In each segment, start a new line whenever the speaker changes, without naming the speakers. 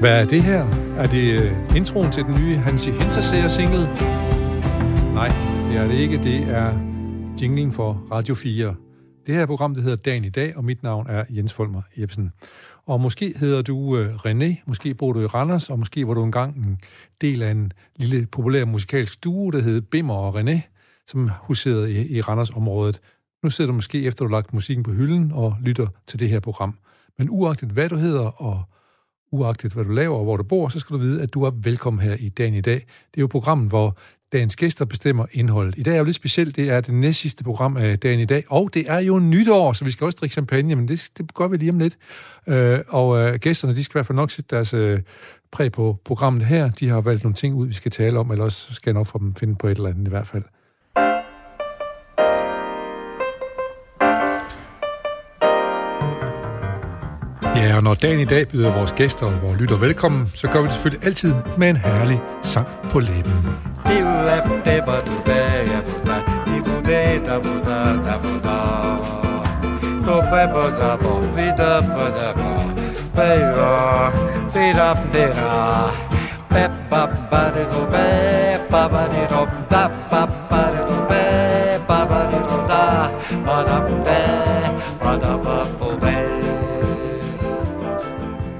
Hvad er det her? Er det øh, introen til den nye Hansi Hinterseer single? Nej, det er det ikke. Det er jinglen for Radio 4. Det her program det hedder Dagen i dag, og mit navn er Jens Folmer Jebsen. Og måske hedder du øh, René, måske bor du i Randers, og måske var du engang en del af en lille populær musikalsk duo, der hed Bimmer og René, som huserede i, i Randers-området. Nu sidder du måske efter, du har lagt musikken på hylden og lytter til det her program. Men uagtet hvad du hedder, og uagtet hvad du laver og hvor du bor, så skal du vide, at du er velkommen her i dagen i dag. Det er jo programmet, hvor dagens gæster bestemmer indholdet. I dag er jo lidt specielt, det er det næst sidste program af dagen i dag, og det er jo nytår, så vi skal også drikke champagne, men det, det gør vi lige om lidt. Øh, og øh, gæsterne, de skal i hvert fald nok sætte deres øh, præg på programmet her. De har valgt nogle ting ud, vi skal tale om, ellers skal jeg nok få dem finde på et eller andet i hvert fald. Ja, og når dagen i dag byder vores gæster og vores lytter velkommen, så gør vi det selvfølgelig altid med en herlig sang på læben.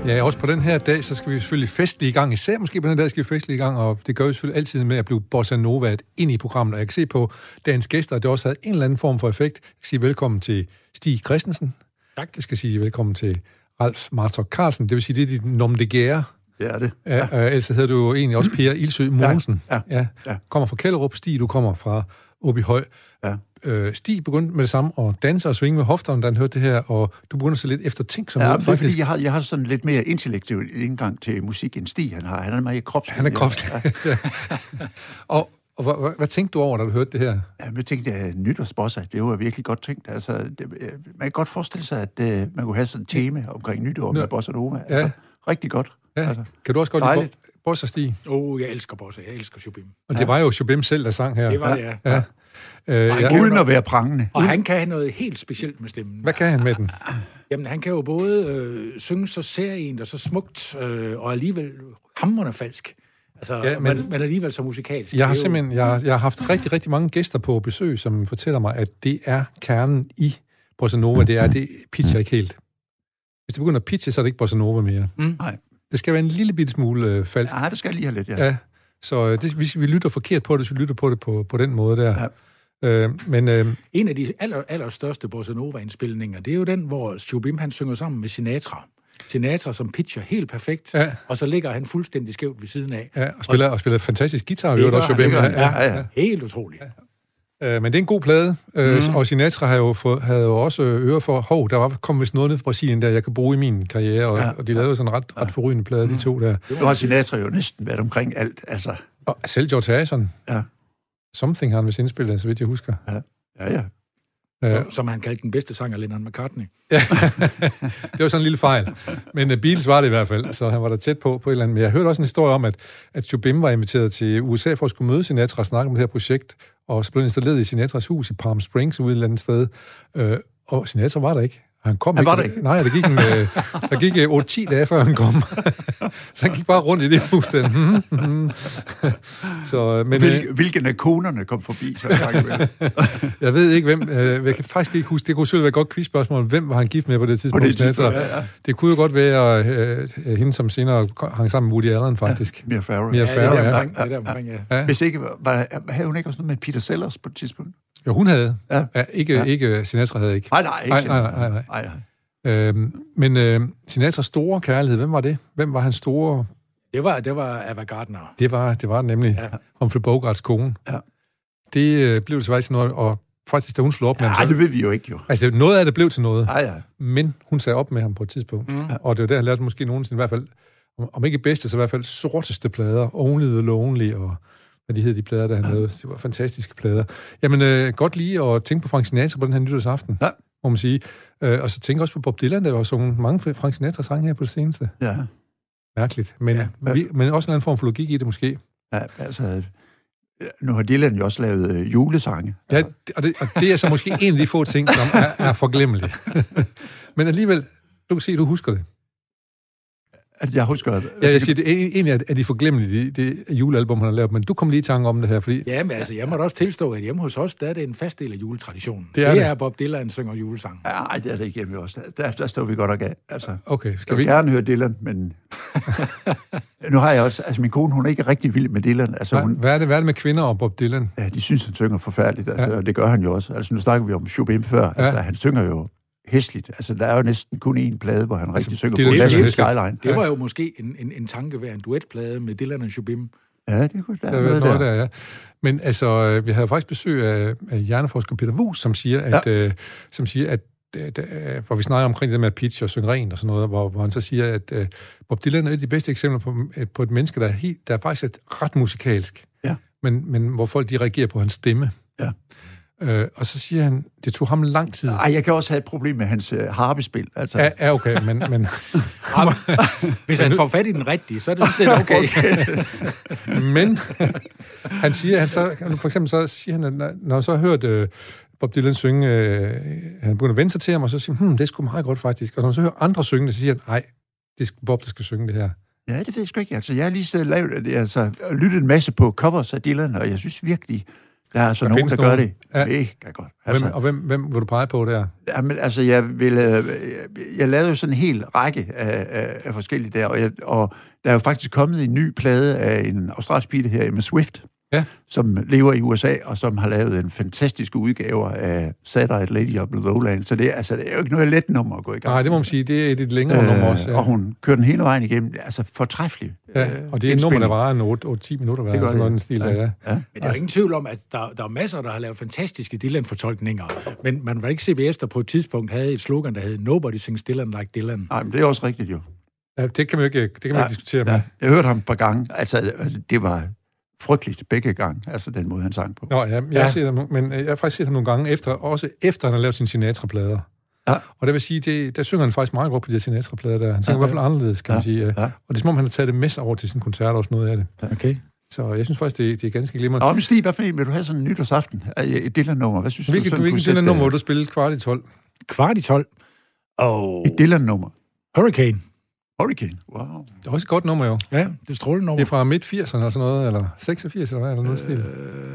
Ja, også på den her dag, så skal vi selvfølgelig festlig i gang. Især måske på den her dag skal vi festlig i gang, og det gør vi selvfølgelig altid med at blive bossa novaet ind i programmet. Og jeg kan se på dagens gæster, at det også havde en eller anden form for effekt. Jeg skal sige velkommen til Stig Christensen.
Tak.
Jeg skal sige velkommen til Ralf Martok Carlsen. Det vil sige, det er dit nom de guerre.
Det er det.
Ja. Øh, ellers så hedder du jo egentlig også Per Ilsø Mogensen.
Ja,
ja.
ja.
Kommer fra Kælderup. Stig, du kommer fra Åbyhøj.
Ja.
Øh, Stig begyndte med det samme at danse og svinge med hofterne, da han hørte det her, og du begynder så lidt efter ting, som
Ja,
ja,
men det er,
faktisk...
fordi jeg har, jeg har sådan lidt mere intellektuel indgang til musik, end Stig han har. Han er meget kropslig.
Han er kropslig. og og hvad, hvad, hvad tænkte du over, da du hørte det her?
Ja, men jeg tænkte, at nytårsbosser, det var virkelig godt tænkt. Altså, det, øh, man kan godt forestille sig, at uh, man kunne have sådan et tema omkring nytår med bossa nova. Altså,
Ja.
Rigtig godt.
Ja,
Altså,
kan du også godt lide
dejligt.
Bo- Bossa Stig?
Åh, oh, jeg elsker Bossa. Jeg elsker Shubim.
Og det var jo Shubim selv, der sang her.
Det var det, ja.
Ja. Øh,
Ej,
ja.
kan-
uden at være prangende.
Og han kan have noget helt specielt med stemmen.
Hvad kan han med den?
Jamen, han kan jo både øh, synge så serien og så smukt, øh, og alligevel hamrende falsk. Altså,
Ja,
ja,
men-
men, men, alligevel så musikalsk. Det
Jeg har
er jo-
simpelthen jeg, har- jeg har haft rigtig, rigtig mange gæster på besøg, som fortæller mig, at det er kernen i Bossa Nova. Det er, det pitcher ikke helt. Hvis det begynder at pitche, så er det ikke Bossa Nova mere.
Mm.
Nej.
Det skal være en lille bitte smule øh, falsk.
Ja, det skal jeg lige have lidt, ja.
Ja. Så øh, det, vi, vi lytter forkert på det, hvis vi lytter på det på, på den måde der.
Ja.
Øh, men øh,
En af de aller, allerstørste Bossa Nova-indspilninger, det er jo den, hvor Shubim han synger sammen med Sinatra. Sinatra, som pitcher helt perfekt,
Ja.
og så ligger han fuldstændig skævt ved siden af.
ja, og, spiller, og spiller fantastisk guitar, og også
Det gør han,
Shubim.
det gør han.
Ja, ja.
ja, ja.
Helt utroligt. Ja. Mhm.
Øh, men det er en god plade, øh, mm. og Sinatra havde jo, fået, havde jo også øh, øre for, hov, der var, kom vist noget ned fra Brasilien, der jeg kan bruge i min karriere, og, ja. og de lavede jo sådan en ret, ret forrygende plade,
Mhm.
de to der.
Nu har Sinatra jo næsten været omkring alt, altså.
Og selv George Harrison,
Ja,
Something har han vist indspillet, så vidt jeg husker. Øh,
ja, ja.
Ja.
Som, som han kaldte den bedste sanger, Lennon McCartney.
Det var sådan en lille fejl. Men uh, Beatles var det i hvert fald, så han var der tæt på på et eller andet. Men jeg hørte også en historie om, at, at Jobim var inviteret til USA for at skulle møde Sinatra og snakke om det her projekt, og så blev han installeret i Sinatras hus i Palm Springs ude et eller andet sted. Øh, og Sinatra var der ikke. Han kom
Han
ikke.
var der ikke?
Nej, der gik, en, øh, der gik øh, 8-10 dage, før han kom. så han gik bare rundt i det hus. Den. Hmm, hmm. så, øh, men, øh,
Hvil, hvilken af konerne kom forbi, så jeg snakkede med.
jeg ved ikke, hvem... Øh, jeg kan faktisk ikke huske... Det kunne selvfølgelig være et godt quizspørgsmål. Hvem var han gift med på det tidspunkt?
tidspunkt,
Sinatra? Det kunne jo godt være øh, øh, hende, som senere ko- hang sammen med Woody Allen, faktisk.
Mia Farrow.
Mia
Ja, det er
Farrow,
der
ja.
omkring, det er der omkring ja.
Ja.
Hvis ikke, var, havde hun ikke også noget med Peter Sellers på et tidspunkt?
Jo, hun havde.
Ja.
Ja, ikke, ja. ikke Sinatra havde ikke.
Nej, nej, ikke
Nej, nej, nej,
Sinatra.
nej.
nej, nej.
Øhm, men øh, Sinatras store kærlighed, hvem var det? Hvem var hans store...
Det var, det var Ava Gardner.
Det var det var det nemlig ja.
Ja.
Humphrey Bogarts kone.
Ja.
Det øh, blev desværre ikke til noget, og faktisk, da hun slog op med
Nej,
ham... Så,
det ved vi jo ikke, jo.
altså, det- noget af det blev til noget.
Nej, ja.
Men hun sagde op med ham på et tidspunkt. Mm. Og det var der, han lærte måske nogensinde i hvert fald, om- om ikke bedste, så i hvert fald sorteste plader. Only the Lonely og hvad de hed de plader, der han lavede. Det var fantastiske plader. Jamen, øh, godt lige at tænke på Frank Sinatra på den her nytårsaften,
Ja.
må man sige. Øh, og så tænke også på Bob Dylan, der var sunget mange Frank Sinatra-sange her på det seneste.
ja.
Mærkeligt. Men, ja.
Ja.
vi, men også en eller anden form for logik i det måske.
Ja, altså, nu har Dylan jo også lavet øh, julesange.
Ja, og, det, og det er så måske en af de få ting, som er, er forglemmelige. men alligevel, du kan se, du husker det.
At jeg husker... At, Altså,
Ja, jeg siger, det er en- en af, af de forglemmelige, det, det julealbum, han har lavet, men du kom lige i tanke om det her, fordi...
Jamen altså, jeg må da også tilstå, at hjemme hos os, der er det en fast del af juletraditionen.
Det er
det
det.
er Bob Dylan synger julesang.
Nej, det er det ikke hjemme også. Der, der står vi godt og gav. Altså,
Okay, skal
jeg
vi...
vil gerne høre Dylan, men... nu har jeg også... Altså, min kone, hun er ikke rigtig vild med Dylan. Altså,
Hvad,
hun,
hvad, er det, hvad er det med kvinder og Bob Dylan?
ja, de synes, han synger forfærdeligt, altså,
Ja.
ja. og det gør han jo også. Altså, nu snakker vi om Chopin før. Ja. Altså, han synger jo hæsligt. Altså, der er jo næsten kun én plade, hvor han rigtig altså, synger
Dylan
på
synger
National
hæsligt.
Skyline.
Det var jo måske en, en, en tanke ved en duetplade med Dylan og Jobim.
Ja, det kunne der
Der
er
er noget,
noget
noget
der.
der, ja. Men altså, øh, vi havde faktisk besøg af, af hjerneforsker Peter Wus, som siger, at, ja. øh, som siger, at øh, der- hvor vi snakker omkring det med at pitche og synge rent og sådan noget, hvor, hvor han så siger, at øh, Bob Dylan er et af de bedste eksempler på, øh, på et menneske, der er, helt, der er faktisk er ret musikalsk,
Ja.
men, men hvor folk de reagerer på hans stemme.
Ja.
Øh, og så siger han, det tog ham lang tid.
Ej, jeg kan også have et problem med hans øh, harpespil. Altså,
Ja, ja, okay, men, men,
Hvis han får fat i den rigtige, så er det sådan set okay.
Men han siger, han så, for eksempel så siger han, at når- når han så har hørt øh, Bob Dylan synge, øh, han begynder at vende sig til ham, og så siger han, hmm, det er sgu meget godt faktisk. Og når han så hører andre synge det, så siger han, nej, det er sgu Bob, der skal synge det her.
Ja, det ved jeg sgu ikke. Altså, jeg har lige siddet og lavet, altså, og lyttet en masse på covers af Dylan, og jeg synes virkelig, der er altså
Der
der nogen,
findes
der gør
nogen.
det.
Ja.
Ja. Mega godt.
Hvem,
Altså,
og hvem, hvem vil du pege på der?
jamen, altså, jeg, ville, øh, jeg, jeg lavede jo sådan en hel række af, af, af forskellige der, og, jeg, og der er jo faktisk kommet en ny plade af en australsk pige, der hedder Emma Swift,
Ja.
som lever i USA, og som har lavet en fantastisk udgave af Saturday Lady of the Lowland. Så det, er- altså, det er jo ikke noget let nummer at gå i gang.
Nej, det må man sige, det er et lidt længere øh, nummer også.
Og
Ja.
hun kører den hele vejen igennem. Det er Altså, fortræffeligt. Øh,
Ja, og det er et nummer, der varer en 8-10 minutter, hvad
Det gør
sådan noget,
det.
den stil der er.
Ja.
Men der er jo ingen tvivl om, at der, der er masser, der har lavet fantastiske Dylan-fortolkninger. Men man var ikke CBS, der på et tidspunkt havde et slogan, der hed Nobody sings Dylan like Dylan.
Nej, men det er også rigtigt jo.
Ja, det kan man jo ikke, det kan man
Nej,
ikke diskutere med.
Ja, jeg hørte ham et par gange. Altså, det var frygteligt begge gange, altså den måde, han sang på.
Nå ja, jeg, ja.
Ja.
Har set ham, men øh, jeg har faktisk set ham nogle gange, efter, også efter han har lavet sine Sinatra-plader.
Ja.
Og det vil sige, det, der synger han faktisk meget godt på de her Sinatra-plader der. Han synger ja,
Ja,
i hvert fald anderledes, kan ja, man sige. Ja.
ja.
Og det er som om, han har taget det med sig over til sin koncert og sådan noget af det.
Okay.
Så jeg synes faktisk, det, det er ganske glimrende.
Nå, men Stig, hvad for en vil du have sådan en nytårsaften? Øh, Et Dylan-nummer? Hvad synes
Hvilket,
du?
hvilket
kunne
den
sætte,
nummer, vil du spille kvart i 12?
Kvart i 12. Og
øh, Et Dylan-nummer.
Hurricane.
Hurricane. Wow.
Det er også et godt nummer jo.
Ja, det er strålende
Det er
over.
fra midt 80'erne eller sådan noget, eller 86 eller hvad, eller noget øh, stil.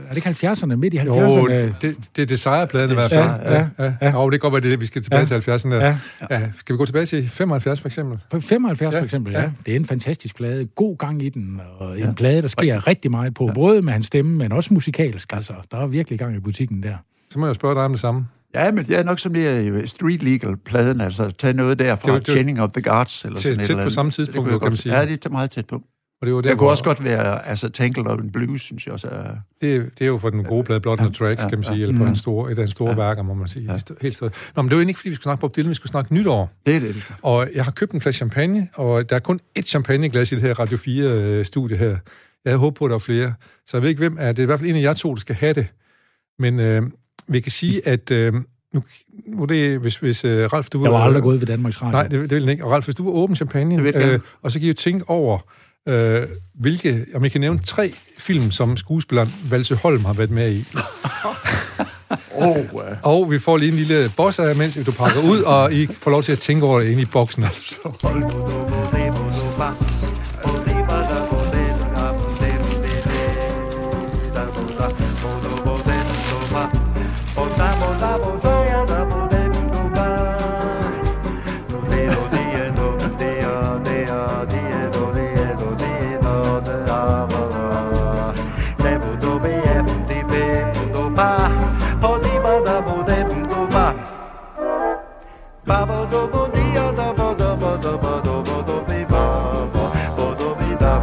Er det ikke 70'erne? Midt i 70'erne?
Jo, det, det, det er Desire-pladen i hvert fald.
Ja, ja,
ja. ja. Og det kan godt være, det er det, vi skal tilbage
Ja.
til 70'erne.
Ja.
ja. Skal vi gå tilbage til 75 for eksempel?
På 75
Ja,
ja, for eksempel, ja.
ja.
ja. Det er en fantastisk plade. God gang i den, og en plade, der sker rigtig meget på. Både med hans stemme, men også musikalsk. Altså, der er virkelig gang i butikken der.
Så må jeg jo spørge dig om det samme.
Ja, men det er nok som det er jo street legal-pladen, altså tag noget der
Det
fra
var- det var-
Chaining of the Guards. Eller
Tæt-
sådan et
tæt
eller
på
andet.
samme
Det
tidspunkt,
kunne jeg
kan
godt-
man sige.
Ja, det er meget tæt på.
Og det var der,
Det kunne
hvor-
også godt være altså, Tangled Up in Blues, synes jeg også er
Det, det er jo for den gode plade, Blood and the Tracks, kan man sige, eller på en store, et af hans store værker, må man sige. De sto- Helt store. Nå, men det var egentlig ikke, fordi vi skulle snakke Bob Dylan, vi skulle snakke nytår.
Det er det.
Og jeg har købt en flaske champagne, og der er kun ét champagneglas i det her Radio 4-studie her. Jeg havde håbet på, at der var flere. Så jeg ved ikke, hvem er det. er i hvert fald en af jer to, der skal have det. Men øh, vi kan sige, at... Øh, nu, nu er det, hvis, hvis øh, Ralf, du...
Jeg var aldrig gået ved Danmarks Radio.
Nej, det, det vil den ikke. Og Ralf, hvis du vil åbne champagne,
Det vil jeg
øh,
gerne.
og så kan I jo tænke over, øh, hvilke, om I kan nævne tre film, som skuespilleren Valse Holm har været med i.
Åh, oh, uh,
Og vi får lige en lille boss af, mens du pakker ud, og I får lov til at tænke over det inde i boksen.
Bye. Ba ba do bo di ya da ba da ba da ba do bo do bi ba ba.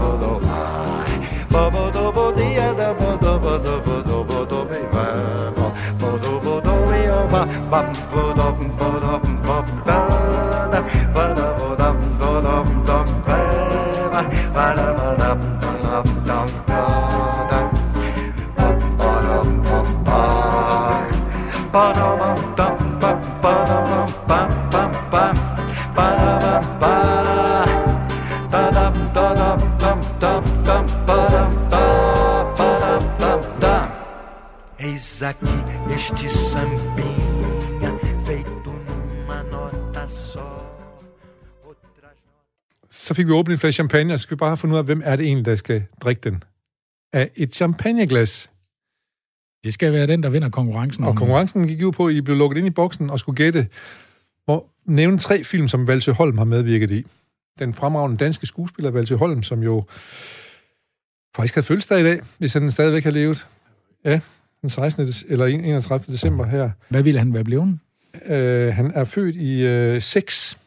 Så fik vi åbnet en flaske champagne, og så skal vi bare finde ud af, hvem er det egentlig, der skal drikke den? Af et champagneglas.
Det skal være den, der vinder konkurrencen.
Og
om-
konkurrencen gik jo på, at I blev lukket ind i boksen og skulle gætte, hvor nævne tre film, som Valsø Holm har medvirket i. Den fremragende danske skuespiller Valsø Holm, som jo faktisk havde fødselsdag i dag, hvis han stadigvæk har levet. Ja, den 16. des- eller 31. december her.
Hvad ville han være blevet?
Øh, han er født i øh, 6,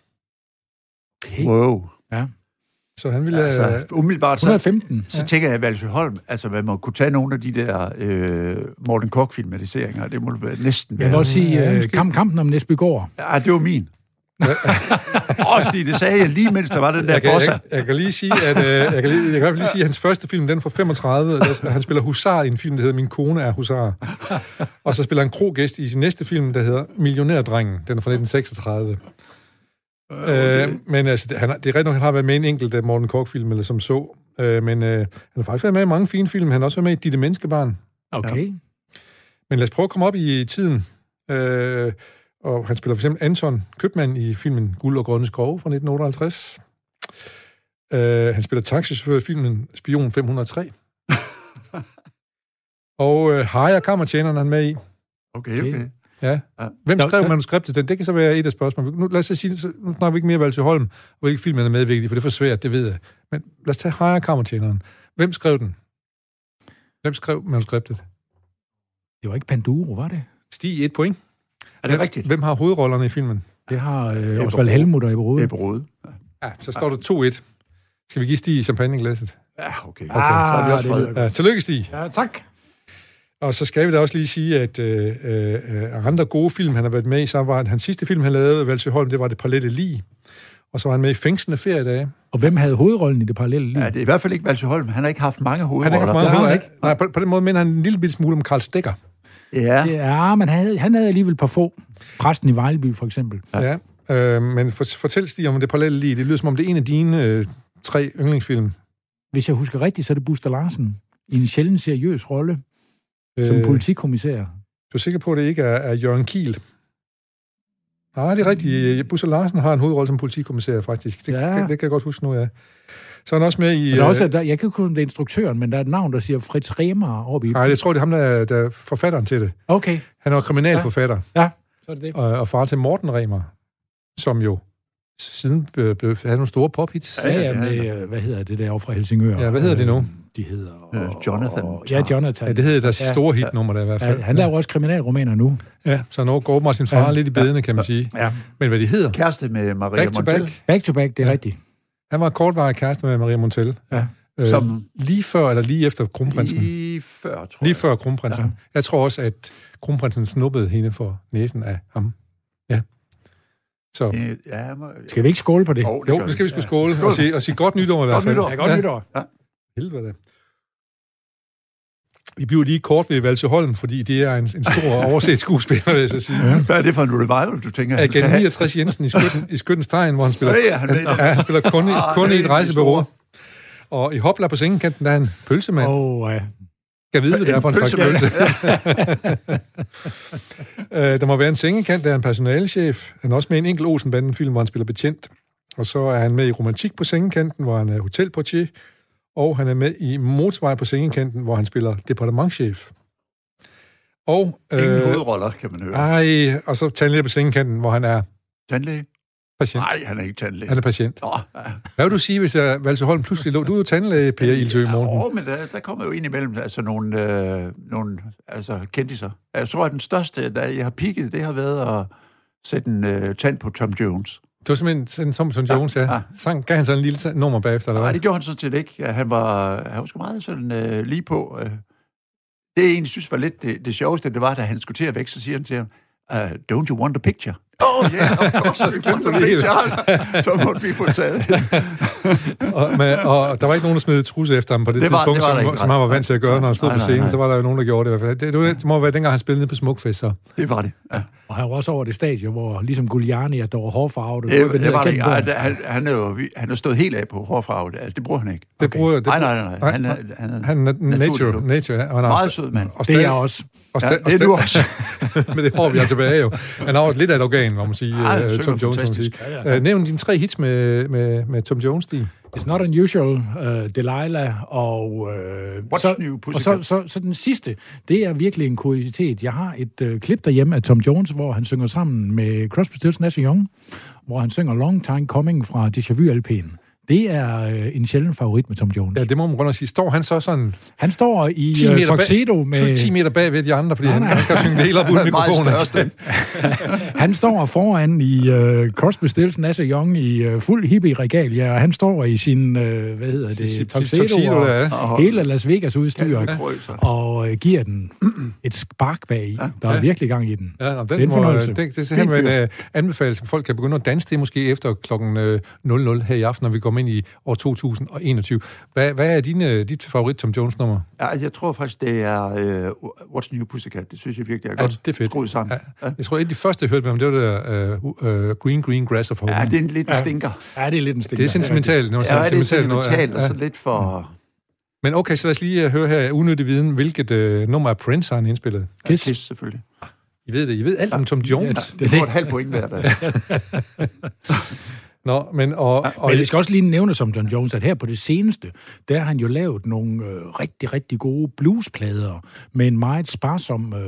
Okay.
Wow.
så han ville...
Altså,
Altså,
umiddelbart så,
115.
så tænker jeg, at Valsø Holm, altså man må kunne tage nogle af de der øh, Morten Kork-filmatiseringer, det må det være næsten
Jeg vil
være.
også sige,
Ja,
ja,
måske.
kamp, kampen om Næsbygård.
Ja, det var min. også fordi det sagde jeg lige, mens der var den der
jeg, kan,
bossa.
jeg, jeg kan lige sige, at øh, jeg kan, lige, jeg kan i hvert fald lige sige, at hans første film, den er fra 35, og der, han spiller husar i en film, der hedder Min kone er husar. Og så spiller han krogæst i sin næste film, der hedder Millionærdrengen. Den er fra 1936. Okay. Øh, men altså, det- han, har- det er rigtigt nok, han har været med i en enkelt øh, Morten Kork-film, eller som så. Øh, men øh, han har faktisk været med i mange fine film. Han har også været med i Ditte Menneskebarn.
Okay.
Men lad os prøve at komme op i tiden. Øh, og han spiller for eksempel Anton Købmann i filmen Guld og Grønne Skove fra 1958. Øh, han spiller taxichauffør i filmen Spion 503. og øh, Harry og Kammertjeneren er han med i.
Okay, okay.
Ja.
Ja.
Hvem
Nå,
skrev
der-
manuskriptet til den? Det kan så være et af spørgsmålene. Nu, lad os så sige, så- nu snakker vi ikke mere Valse Holm, og hvilke film han er medvirket i, for det er for svært, det ved jeg. Men lad os tage Harry og Kammertjeneren. Hvem skrev den? Hvem skrev manuskriptet?
Det var ikke Panduro, var det?
Stig et point.
Er det
Hvem-
rigtigt?
Hvem har hovedrollerne i filmen?
Det har øh,
Ebberode.
Osvald Helmut og Ebbe Rode.
Ebbe Rode.
Ja, så står der 2-1. Skal vi give Stig champagneglasset?
Ja, okay.
Ah,
så er vi også
det lyder
fred.
Ja, tillykke, Stig.
Ja, tak.
Og så skal vi da også lige sige, at øh, øh, øh, andre gode film, han har været med i, så var at hans sidste film, han lavede, Valsø Holm, det var Det Parlette Lige. Og så var han med i Fængslende Feriedage.
Og hvem havde hovedrollen i det parallelle liv?
Ja, det er i hvert fald ikke Valsø Holm. Han har ikke haft mange
Han
hovedroller.
er ikke for
Det har
meget
han
ikke. Nej, på, på den måde minder han en lille bitte smule om Karl Stikker.
Ja.
Det er, men han havde, han havde alligevel et par få. Præsten i Vejleby, for eksempel.
Ja. ja. Øh, men for, fortæl, Stig, om Det Parlette Lige. Det lyder som om, det er en af dine øh, tre yndlingsfilm.
Hvis jeg husker rigtigt, så er det Buster Larsen i en sjældent seriøs rolle øh. som politikommissær.
Du er sikker på, at det ikke er, er Jørgen Kiel? Nej, det er rigtigt. Øh, Busse Larsen har en hovedrolle som politikommissær, faktisk. Det, ja.
Mm. Ja.
kan, det kan jeg godt huske nu, ja. Så er han også med i...
Og der er også,
øh,
der, jeg kan ikke huske, om det er instruktøren, men der er et navn, der siger Fritz Remer oppe i.
Nej, jeg tror, det er ham, der er, der er forfatteren til det.
Okay,
Han er jo kriminalforfatter
så er det det.
og, og far til Morten Remer, som jo siden blev, blev, havde nogle store pophits.
Ja,
Ja,
ja,
ja.
med, øh, hvad hedder det der fra Helsingør?
Ja, hvad hedder det nu?
De hedder...
Øh, Jonathan.
Og, ja, Jonathan.
Ja, det hedder deres
Ja.
store hitnummer, der i hvert fald.
Ja, han laver også kriminalromaner nu.
Ja, så nu går Martin far
Ja.
lidt i bedene, kan man sige.
Ja.
Men hvad de hedder?
Kæreste med Maria
Back to
Montel,
back.
Back to back, det er
Ja.
ja. rigtigt.
Han var kortvarig kæreste med Maria Montel.
Ja.
Øh,
som
lige før eller lige efter kronprinsen?
lige før, tror
Lige
jeg.
før kronprinsen. Ja. Jeg tror også, at kronprinsen snuppede hende for næsen af ham. Ja. Så jo,
Øh, Ja, må...
Skal vi ikke skåle på det?
Jo, gør
nu skal vi sgu skåle og sige, og sige godt nytår i hvert
Godt
fald.
nytår.
Ja, godt nytår.
Helvede. Vi bliver lige kort ved Valse Holm, fordi det er en, en stor overset skuespiller, vil jeg så sige. Ja.
Hvad er det for en revival, du tænker? han skal
Agent
have?
69 Jensen i Skytten, i Skyttens Tegn, hvor han spiller,
Ja, ja, han er med i det.
ja, han spiller kun, i,
Ah,
kun
det
i
er
et
en
rejsebureau.
stor.
Og i Hopla på sengekanten, der er en pølsemand.
Åh, oh, ja.
Kan vide, hvad det er for en slags pølse. Øh, der må være en sengekant, der er en personalechef. Han er også med i en enkelt Olsenbanden-film, hvor han spiller betjent. Og så er han med i Romantik på sengekanten, hvor han er hotelportier. Og han er med i Motorvej på sengekanten, hvor han spiller departementchef. Og,
Ingen
øh,
hovedroller, kan man høre.
ej, og så tandlæge på sengekanten, hvor han er
Tandlæge?
patient.
Nej, han er ikke tandlæge.
Han er patient.
Nå, ja.
Hvad vil du sige, hvis jeg, Valse Holm pludselig lå? Du er jo tandlæge, Per Ilsø, i morgen.
Åh, men der, der kommer jo ind imellem altså nogle, øh, nogle altså, kendtiser. Jeg tror, at den største, der jeg har pigget, det har været at sætte en øh, tand på Tom Jones.
Det var simpelthen sådan, som Tom Jones sagde.
ja.
Sang, gav han så en lille ta- nummer bagefter, eller
Nej,
hvad?
det gjorde han sådan set ikke. Ja, Han var, han var sgu meget sådan øh, lige på. Øh. Det, jeg egentlig synes var lidt det, det sjoveste, det var, da han skulle til at væk, så siger han til ham, uh, don't you want a picture? Oh yeah, of course, I want
glemte du
a
det hele.
picture. så måtte vi få taget det.
og, men, og der var ikke nogen, der smed trusse efter ham på det, det
Det var-
tidspunkt,
det var der
som,
ikke,
som
nej.
han var vant til at gøre, når han stod
Nej,
på
nej,
scenen.
nej.
Så var der jo nogen, der gjorde det i hvert fald. Det, det, det må være dengang, han spillede nede på Smukfest. Så.
Det var det. Ja.
Og han var også over det stadie, hvor ligesom Gugliani, at der var hårfarvet. og
Det,
rykket ned
det Øh, var
ad
det.
gennem
ikke. Ej,
bogen.
der- Han, han, er jo, vi- han er stået helt af på hårfarve. Altså, det bruger han ikke.
Det bruger det
Nej,
bruger-
nej, nej. nej. Han, er, han, er,
Han er nature,
naturlig.
nature ja. og han er
Meget
også-
sød mand.
Og
Det er
stadig,
jeg også.
og
Ja,
stadig,
det er du også.
men det hår, vi har tilbage jo. altså Han har også lidt af et organ. Dylan, må man sige.
Ej, han
øh,
synger
Tom Jones, må man sige.
fantastisk.
Ja,
Øh, Nævn dine tre hits med, med, med Tom Jones-stil.
It's Not Unusual, uh, Delilah og... Uh,
What's
så,
New
og så,
Pussycat?
så, så den sidste, det er virkelig en kuriositet. Jeg har et uh, klip derhjemme af Tom Jones, hvor han synger sammen med Crosby, Stills, Nash Young, hvor han synger Long Time Coming fra Deja Vu LP'en. Det er øh, en sjælden favorit med Tom Jones.
Ja, det må man rundt og sige. Står han så sådan
Han står i
10
øh,
meter,
Tuxedo
bag,
med...
10 meter bag ved de andre, fordi
Nej,
han,
nej.
han skal synge det hele op uden
Meget
mikrofonen.
større stemme.
Han står foran i øh, Crosby, Stills, Nash Young i øh, fuld hippie-regalia, og han står i sin, øh, hvad hedder
Sit- sit
det, tuxedo
tuxedo, ja.
og hele Las Vegas udstyr,
Ja, krøser.
og øh, giver den et spark bag i. Der er
Ja.
virkelig gang i den.
Ja, og
Det er
den
en
må,
fornøjelse.
det, det er simpelthen
Fint
en uh, anbefaling, som folk kan begynde at danse det måske efter kl. 00 her i aften, når vi kommer ind i år 2021. Hvad, hvad er dine, øh, dit favorit Tom Jones-nummer?
Ja, jeg tror faktisk, det er øh, What's New Pussycat. Det synes jeg virkelig er
Ja,
godt
det er fedt.
skruet sammen. Ja.
Jeg tror, et af de første, jeg hørte med ham, det var der, uh, uh, Green Green Grass of Home.
ja, det er en lidt
Ja.
stinker.
Ja, det er lidt en stinker.
det er sentimentalt. Noget,
Ja, det er
sentimentalt noget,
sentimentalt, og
ja.
så lidt for...
Men okay, så lad os lige øh, høre her, unødig viden, hvilket øh, nummer af Prince har han indspillet?
Kiss.
Kiss.
Kiss, selvfølgelig.
I ved det, I ved alt om Tom Jones.
Det får et halvt point hver dag.
Nå, men og, og,
Og jeg skal også lige nævne som John Jones, at her på det seneste, der har han jo lavet nogle øh, rigtig, rigtig gode bluesplader med en meget sparsom... Øh,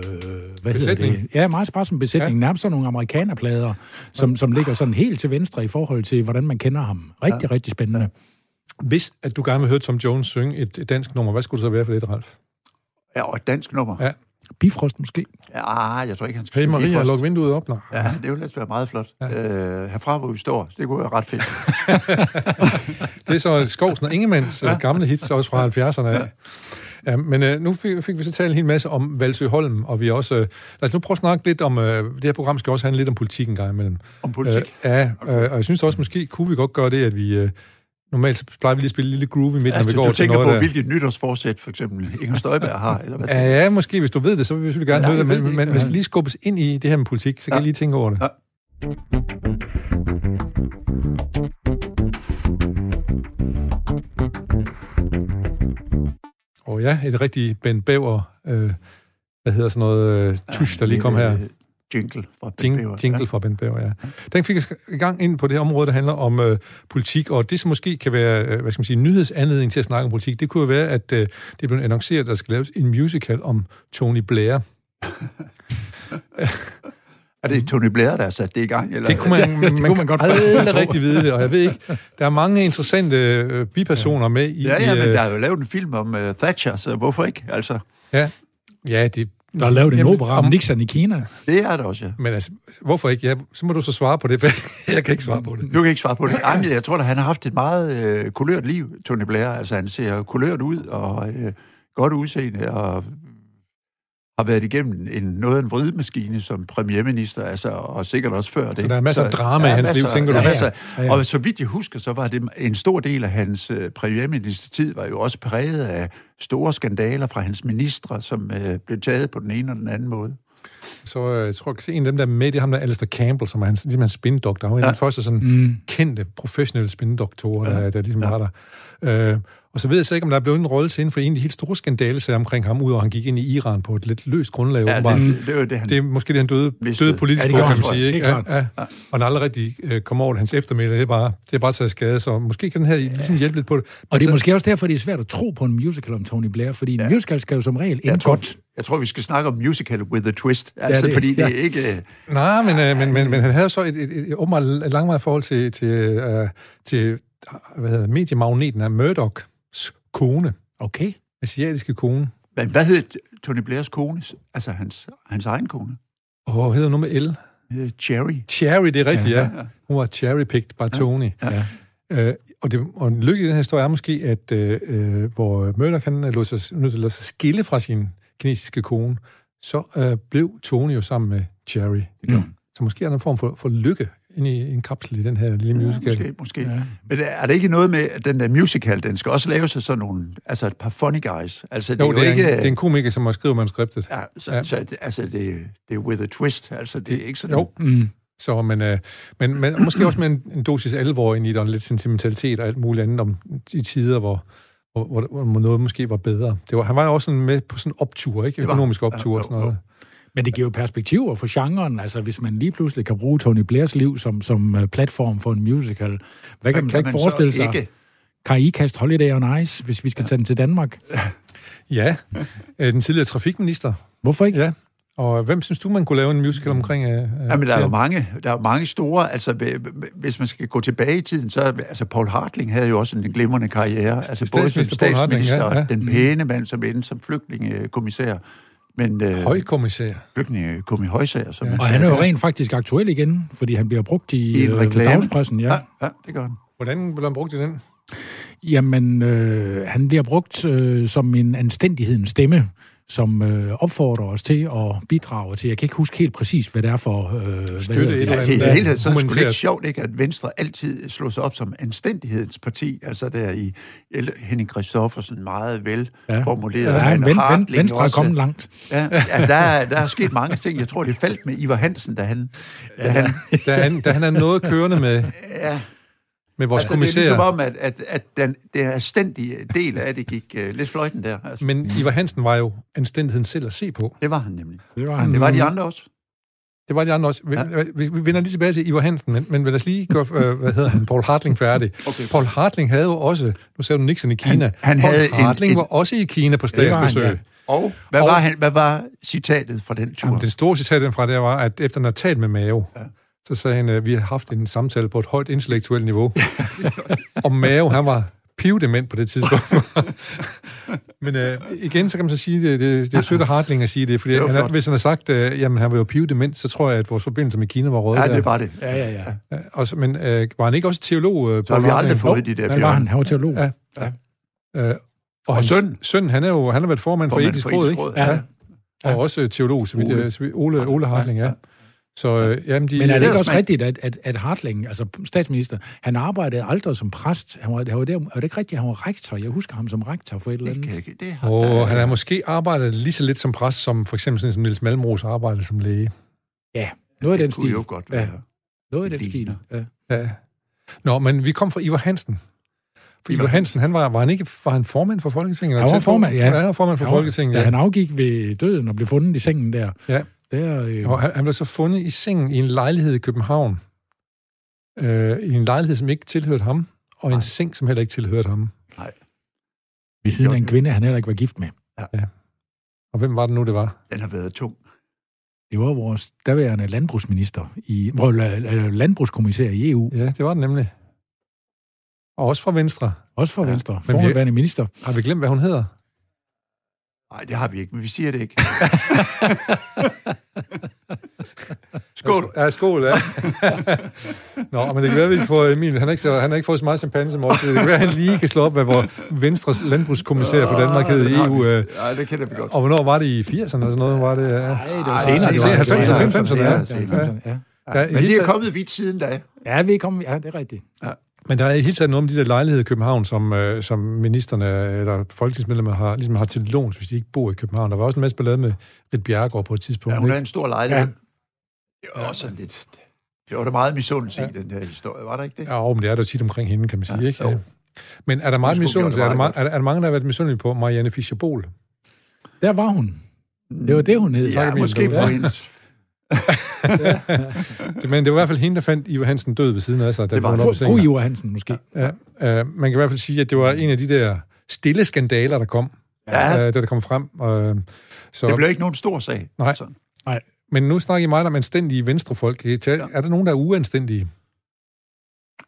hvad
Besætning.
Hedder det? Ja, meget sparsom besætning. Ja. Nærmest sådan nogle amerikanerplader, som, som ligger sådan helt til venstre i forhold til, hvordan man kender ham. Rigtig, ja. rigtig spændende. Ja.
hvis at du gerne vil høre Tom Jones synge et, et dansk nummer, hvad skulle det så være for det, Ralf?
Ja, og et dansk nummer.
Ja.
Bifrost måske.
Ja, ah, jeg tror ikke, han skal...
Hey
synge
Maria,
først.
luk vinduet op. Nå.
Ja, det ville ellers være meget flot. Ja. Øh, herfra, hvor vi står, det kunne være ret fedt.
Det er så Skovsen og Ingemanns ja. gamle hits, også fra 70'erne af. Ja, men øh, nu fik, fik vi så talt en hel masse om Valsø Holm, og vi er også... Øh, lad os nu prøve at snakke lidt om... Øh, det her program skal også handle lidt om politik en gang imellem.
Om politik.
Øh, ja, øh, og jeg synes også, måske kunne vi godt gøre det, at vi... Øh, normalt så plejer vi lige at spille en lille groove i midten, når
altså,
vi går
du
til
tænker
noget
på,
der.
hvilket nytårsforsæt, for eksempel, Inger Støjberg har, eller hvad?
Ja, ja, måske hvis du ved det, så vil vi selvfølgelig gerne
Ja,
høre det,
jeg ved
men,
det
men
ikke.
man skal lige skubbes ind i det her med politik, så kan
Ja.
ja. I lige tænke over det.
Ja.
Og ja, et rigtig Ben Bæver, øh, hvad hedder sådan noget, øh, tush, der lige kom her.
Øh, Jingle fra Bent Bæver.
Jing, jingle fra Ben Bauer, ja. Den fik os i gang ind på det område, der handler om øh, politik, og det som måske kan være, øh, hvad skal man sige, nyhedsanledning til at snakke om politik, det kunne jo være, at øh, det er blevet annonceret, at der skal laves en musical om Tony Blair.
Ja. Er det Tony Blair, der har sat det i gang? Eller?
Det kunne man, man,
kunne man godt
kan aldrig
tro.
rigtig vide det, og jeg ved ikke, der er mange interessante øh, bipersoner med i...
Ja, ja,
i,
men
øh,
der er jo lavet en film om uh, Thatcher, så hvorfor ikke? Altså,
ja, ja, det...
Der er lavet en
Jamen,
opera om Nixon i Kina.
det er der også, ja.
Men altså, hvorfor ikke? Ja, så må du så svare på det, for jeg kan ikke svare på det.
Du kan ikke svare på det. Ej, men jeg tror da, han har haft et meget øh, kulørt liv, Tony Blair. Altså, han ser kulørt ud og øh, godt udseende og har været igennem en, noget af en vridemaskine som premierminister, altså, og sikkert også før det.
der er masser af drama i hans liv,
masser-
tænker
der
du?
er masser-
Ja, ja.
Og så vidt jeg husker, så var det en stor del af hans øh, premierministertid, var jo også præget af store skandaler fra hans ministre, som øh, blev taget på den ene og den anden måde.
Så øh, jeg tror, jeg kan se en af dem, der er med, det er ham der Alistair Campbell, som er hans, ligesom hans spindoktor. Han var ja. en af de første sådan, mm. kendte, professionelle spindoktorer, ja. der, der ligesom ja. var der. Øh, og så ved jeg så ikke, om der er blelet en rolle til inden for en af de helt store skandalesager omkring ham, udover at han gik ind i Iran på et lidt løst grundlag.
Ja,
åbenbart.
det, Mm. det var det, han...
Det er måske det, han døde,
Vidste.
døde politisk
Ja,
ja,
det
på, kan
gør han,
man
tror jeg.
sige. Ikke?
Det er
Ja, ja. Og når han aldrig rigtig øh, kommer over det, hans eftermiddag, det er bare, det er bare taget skade, så måske kan den her ligesom hjælpe lidt på det. Men
Og det
så-
er måske også derfor, det er svært at tro på en musical om Tony Blair, fordi en Altså- ja. musical skal jo som regel ende
tror-
godt.
Jeg tror, vi skal snakke om musical with a twist. Altså, ja,
det-
det, fordi det
ja.
er ikke... øh,
Nej, men, øh, men, men, men han havde så et, et, et åbenbart langvarigt forhold til, til, øh, til hvad hedder, det, mediemagneten af Murdochs kone,
Okay.
asiatiske kone.
Men hvad hed Tony Blairs kone? Altså, hans, hans egen kone.
Og hedder nu med L.
Øh, Cherry.
Cherry, det er rigtigt, ja. ja. Hun var cherry-picked by Tony.
Ja.
Øh, og, det, og en lykke i den her historie er måske, at øh, øh, hvor Murdoch han øh, lod sig, nødt til at lade sig skille fra sin kinesiske kone, så øh, blev Tony jo sammen med Cherry.
gjorde
Mm.
Så måske er der en form for, for lykke ind i en kapsel i den her lille musical.
Måske, måske.
Ja.
Ja. Men er er det ikke noget med, at den der musical, den skal også laves af sådan nogle, altså et par funny guys? Altså, det
Jo,
er jo
det er,
ikke...
en, det er en komiker, som har skrevet manuskriptet.
Ja, så,
Ja.
ja. så det- altså, det, det er with a twist. Altså, det, er ikke sådan...
Jo,
Mm.
så men, øh, men, men og måske også med en, en dosis alvor ind i det, og lidt sentimentalitet og alt muligt andet om i tider, hvor, hvor, hvor, hvor noget måske var bedre. Det var, han var jo også sådan med på sådan en optur, ikke?
var-
Økonomisk optur
ja,
og sådan
jo,
noget.
Men det giver jo perspektiver for genren. Altså, hvis man lige pludselig kan bruge Tony Blairs liv som, som øh, platform for en musical, hvad, hvad kan man så ikke forestille sig? Ikke? Kan I kaste Holiday on Ice, hvis vi skal tage den til Danmark?
Ja, øh, den tidligere trafikminister.
Hvorfor ikke?
Ja. Og hvem synes du, man kunne lave en musical omkring? Øh, øh,
Jamen, der er
det?
jo mange, der er jo mange store, altså b- b- hvis man skal gå tilbage i tiden, så altså Paul Hartling havde jo også en glimrende karriere, altså både som
statsminister Poul Hartling,
statsminister,
ja, ja.
Mm.
den pæne mand, som endte som flygtningekommissær, men øh,
Højkommissær.
flygtningekommissær Højsager, som
Og han er jo rent faktisk aktuel igen, fordi han bliver brugt i,
i en
øh,
reklame.
dagspressen. Ja.
ja. ja, det gør han.
Hvordan blev han brugt i den?
Jamen, øh, han bliver brugt øh, som en anstændighedens stemme, som øh, opfordrer os til at bidrage til. Jeg kan ikke huske helt præcis, hvad det er for... Øh, hvad
Støtte
hedder det?
et eller andet.
Ja, altså, i det
Ja,
hele taget, så er det sgu
humanitært.
lidt sjovt, ikke, at Venstre altid slog sig op som anstændighedens parti, altså der i El- Henning Christoffersen meget vel
Ja.
formuleret.
Ja,
Han
ven, ven,
Hartling
venstre er
også.
kommet langt.
Ja, ja der, er- der er sket mange ting. Jeg tror, det faldt med Ivar Hansen, da han... Da han
Da han, da han er noget kørende med,
ja,
med vores
altså,
altså,
det er
kommissær.
ligesom om, at, at, at den, den anstændige del af det gik uh, lidt fløjten der. Altså,
Men Ivar Hansen var jo anstændigheden selv at se på.
det var han nemlig.
Det var han.
Det var de andre også.
Det var de andre også. Vi, ja. vi, vi vender lige tilbage til Ivar Hansen, men, men vil lad os lige gøre, øh, hvad hedder han, Paul Hartling færdig. Okay. Paul Hartling havde jo også, nu sagde du Nixon i Kina,
han
Paul
havde en-
Hartling
en-
var også i Kina på
var han,
statsbesøg.
ja.
Og hvad,
Og-
var, han, hvad var citatet fra den tur?
Jamen, den store citat fra det var, at efter han havde talt med Mao, ja. så sagde han, at vi har haft en samtale på et højt intellektuelt niveau. og Mao, han var pivdement på det tidspunkt. Men øh, igen, så kan man så sige, det, det, det er sødt af Hartling at sige det, fordi
Det var
han, er-
flot.
hvis han har sagt, øh, jamen han var jo pivdement, så tror jeg, at vores forbindelse med Kina var røget.
ja,
der.
det var det.
Ja, ja, ja.
Ja, Og så, men øh, var han ikke også teolog? Øh,
Så har vi aldrig fået de der
Hvad var han? Han var teolog.
Ja. ja. Øh, og
Og
hans
søn.
søn, han, er jo, han har været formand for
Formand
etisk
for
råd,
Etisk
ikke?
Råd,
Ja.
ja.
ja. Og også øh, teolog, så vidt
Ole.
jeg, så vidt- Ole, Ole Hartling, ja. Så øh, jamen, de...
Men er det ikke
Ja,
også
men-
rigtigt, at, at, at Hartling, altså statsminister, han arbejdede aldrig som præst. Han var, han var, der, var det ikke rigtigt, han var rektor? Jeg husker ham som rektor for et eller
Det
andet.
kan jeg ikke. Det har,
Og han har måske arbejdet lige så lidt som præst, som for eksempel sådan, som Niels Malmros arbejdede som læge.
Ja, noget af den
det kunne
stil.
jo godt
Ja.
være.
Noget af den
Det
stil.
ligner.
Ja.
Ja. Nå, men vi kom fra Ivar Hansen. For Ivar
Ivar
Hansen, han var, var han ikke var han formand for Folketinget?
Han var
Tæt på?
formand, ja.
Han var formand for
Ja,
Folketinget,
Da
ja.
han afgik ved døden og blev fundet i sengen der.
Ja.
Der, øh,
Og han, han blev så fundet i sengen i en lejlighed i København. Øh, I en lejlighed, som ikke tilhørte ham, og en
Nej.
seng, som heller ikke tilhørte ham.
ved siden af en
Jo.
kvinde, han heller ikke var gift med.
Og hvem var det nu, det var?
Den har været tung.
Det var vores daværende landbrugsminister, i, hvor, la- la- landbrugskommissær i E EU,
Ja, det var den nemlig. Og også fra Venstre.
også for
Ja.
Venstre,
vi-
forhenværende minister.
Har vi glemt, hvad hun hedder?
Nej, det har vi ikke, men vi siger det ikke. Skål.
Ja, skål, ja. Nå, men det kan være, at vi får Emil. Han har ikke, så, han har ikke fået så meget champagne som os. Det kan være, at han lige kan slå op, hvad vores Venstres landbrugskommissær for Danmark hed i EU. øh.
Nej, det kender vi godt.
Og hvornår var det i 80'erne eller sådan noget? Var det, ja.
Nej, det
Ej, det var-
det var-
det var-
90'erne,
ja.
det var 90'erne, ja.
Ja, i
Men
hele
det er
taget-
kommet vidt siden da.
Ja, vi kom, ja, det er rigtigt.
Men der er i hele taget noget om de der lejligheder i København, som, øh, som ministerne eller folketingsmedlemmer har, ligesom har til låns, hvis de ikke bor i København. Der var også en masse ballade med Rit Bjerregaard på et tidspunkt.
Ja, hun
ikke?
havde en stor lejlighed. Det var også sådan lidt... Det var da meget misundelse i den her historie, var der ikke det?
Ja, og men det er der tit omkring hende, kan man sige, ja, ikke? Øh,
jo.
Men er der meget
Hun skulle
misundelse? Er
gøre
der,
det
ma-
meget
er, der, er der mange, der har været misundelige på Marianne Fischer-Bohl?
Der var hun. Det var det, hun hed.
Ja,
Emil.
måske på
Ja.
hendes.
Det- Men det var i hvert fald hende, der fandt Ivar Hansen død ved siden af sig. Da
Det var
hun
Fru,
op i sengen.
fru Iver Hansen, måske.
Ja, øh, man kan i hvert fald sige, at det var en af de der stille skandaler, der kom,
Ja,
øh, da det kom frem. Øh, så,
det blev ikke nogen stor sag.
Nej.
Sådan.
Men nu snakker I meget om anstændige venstrefolk. Kan I tage- Er der nogen, der er uanstændige?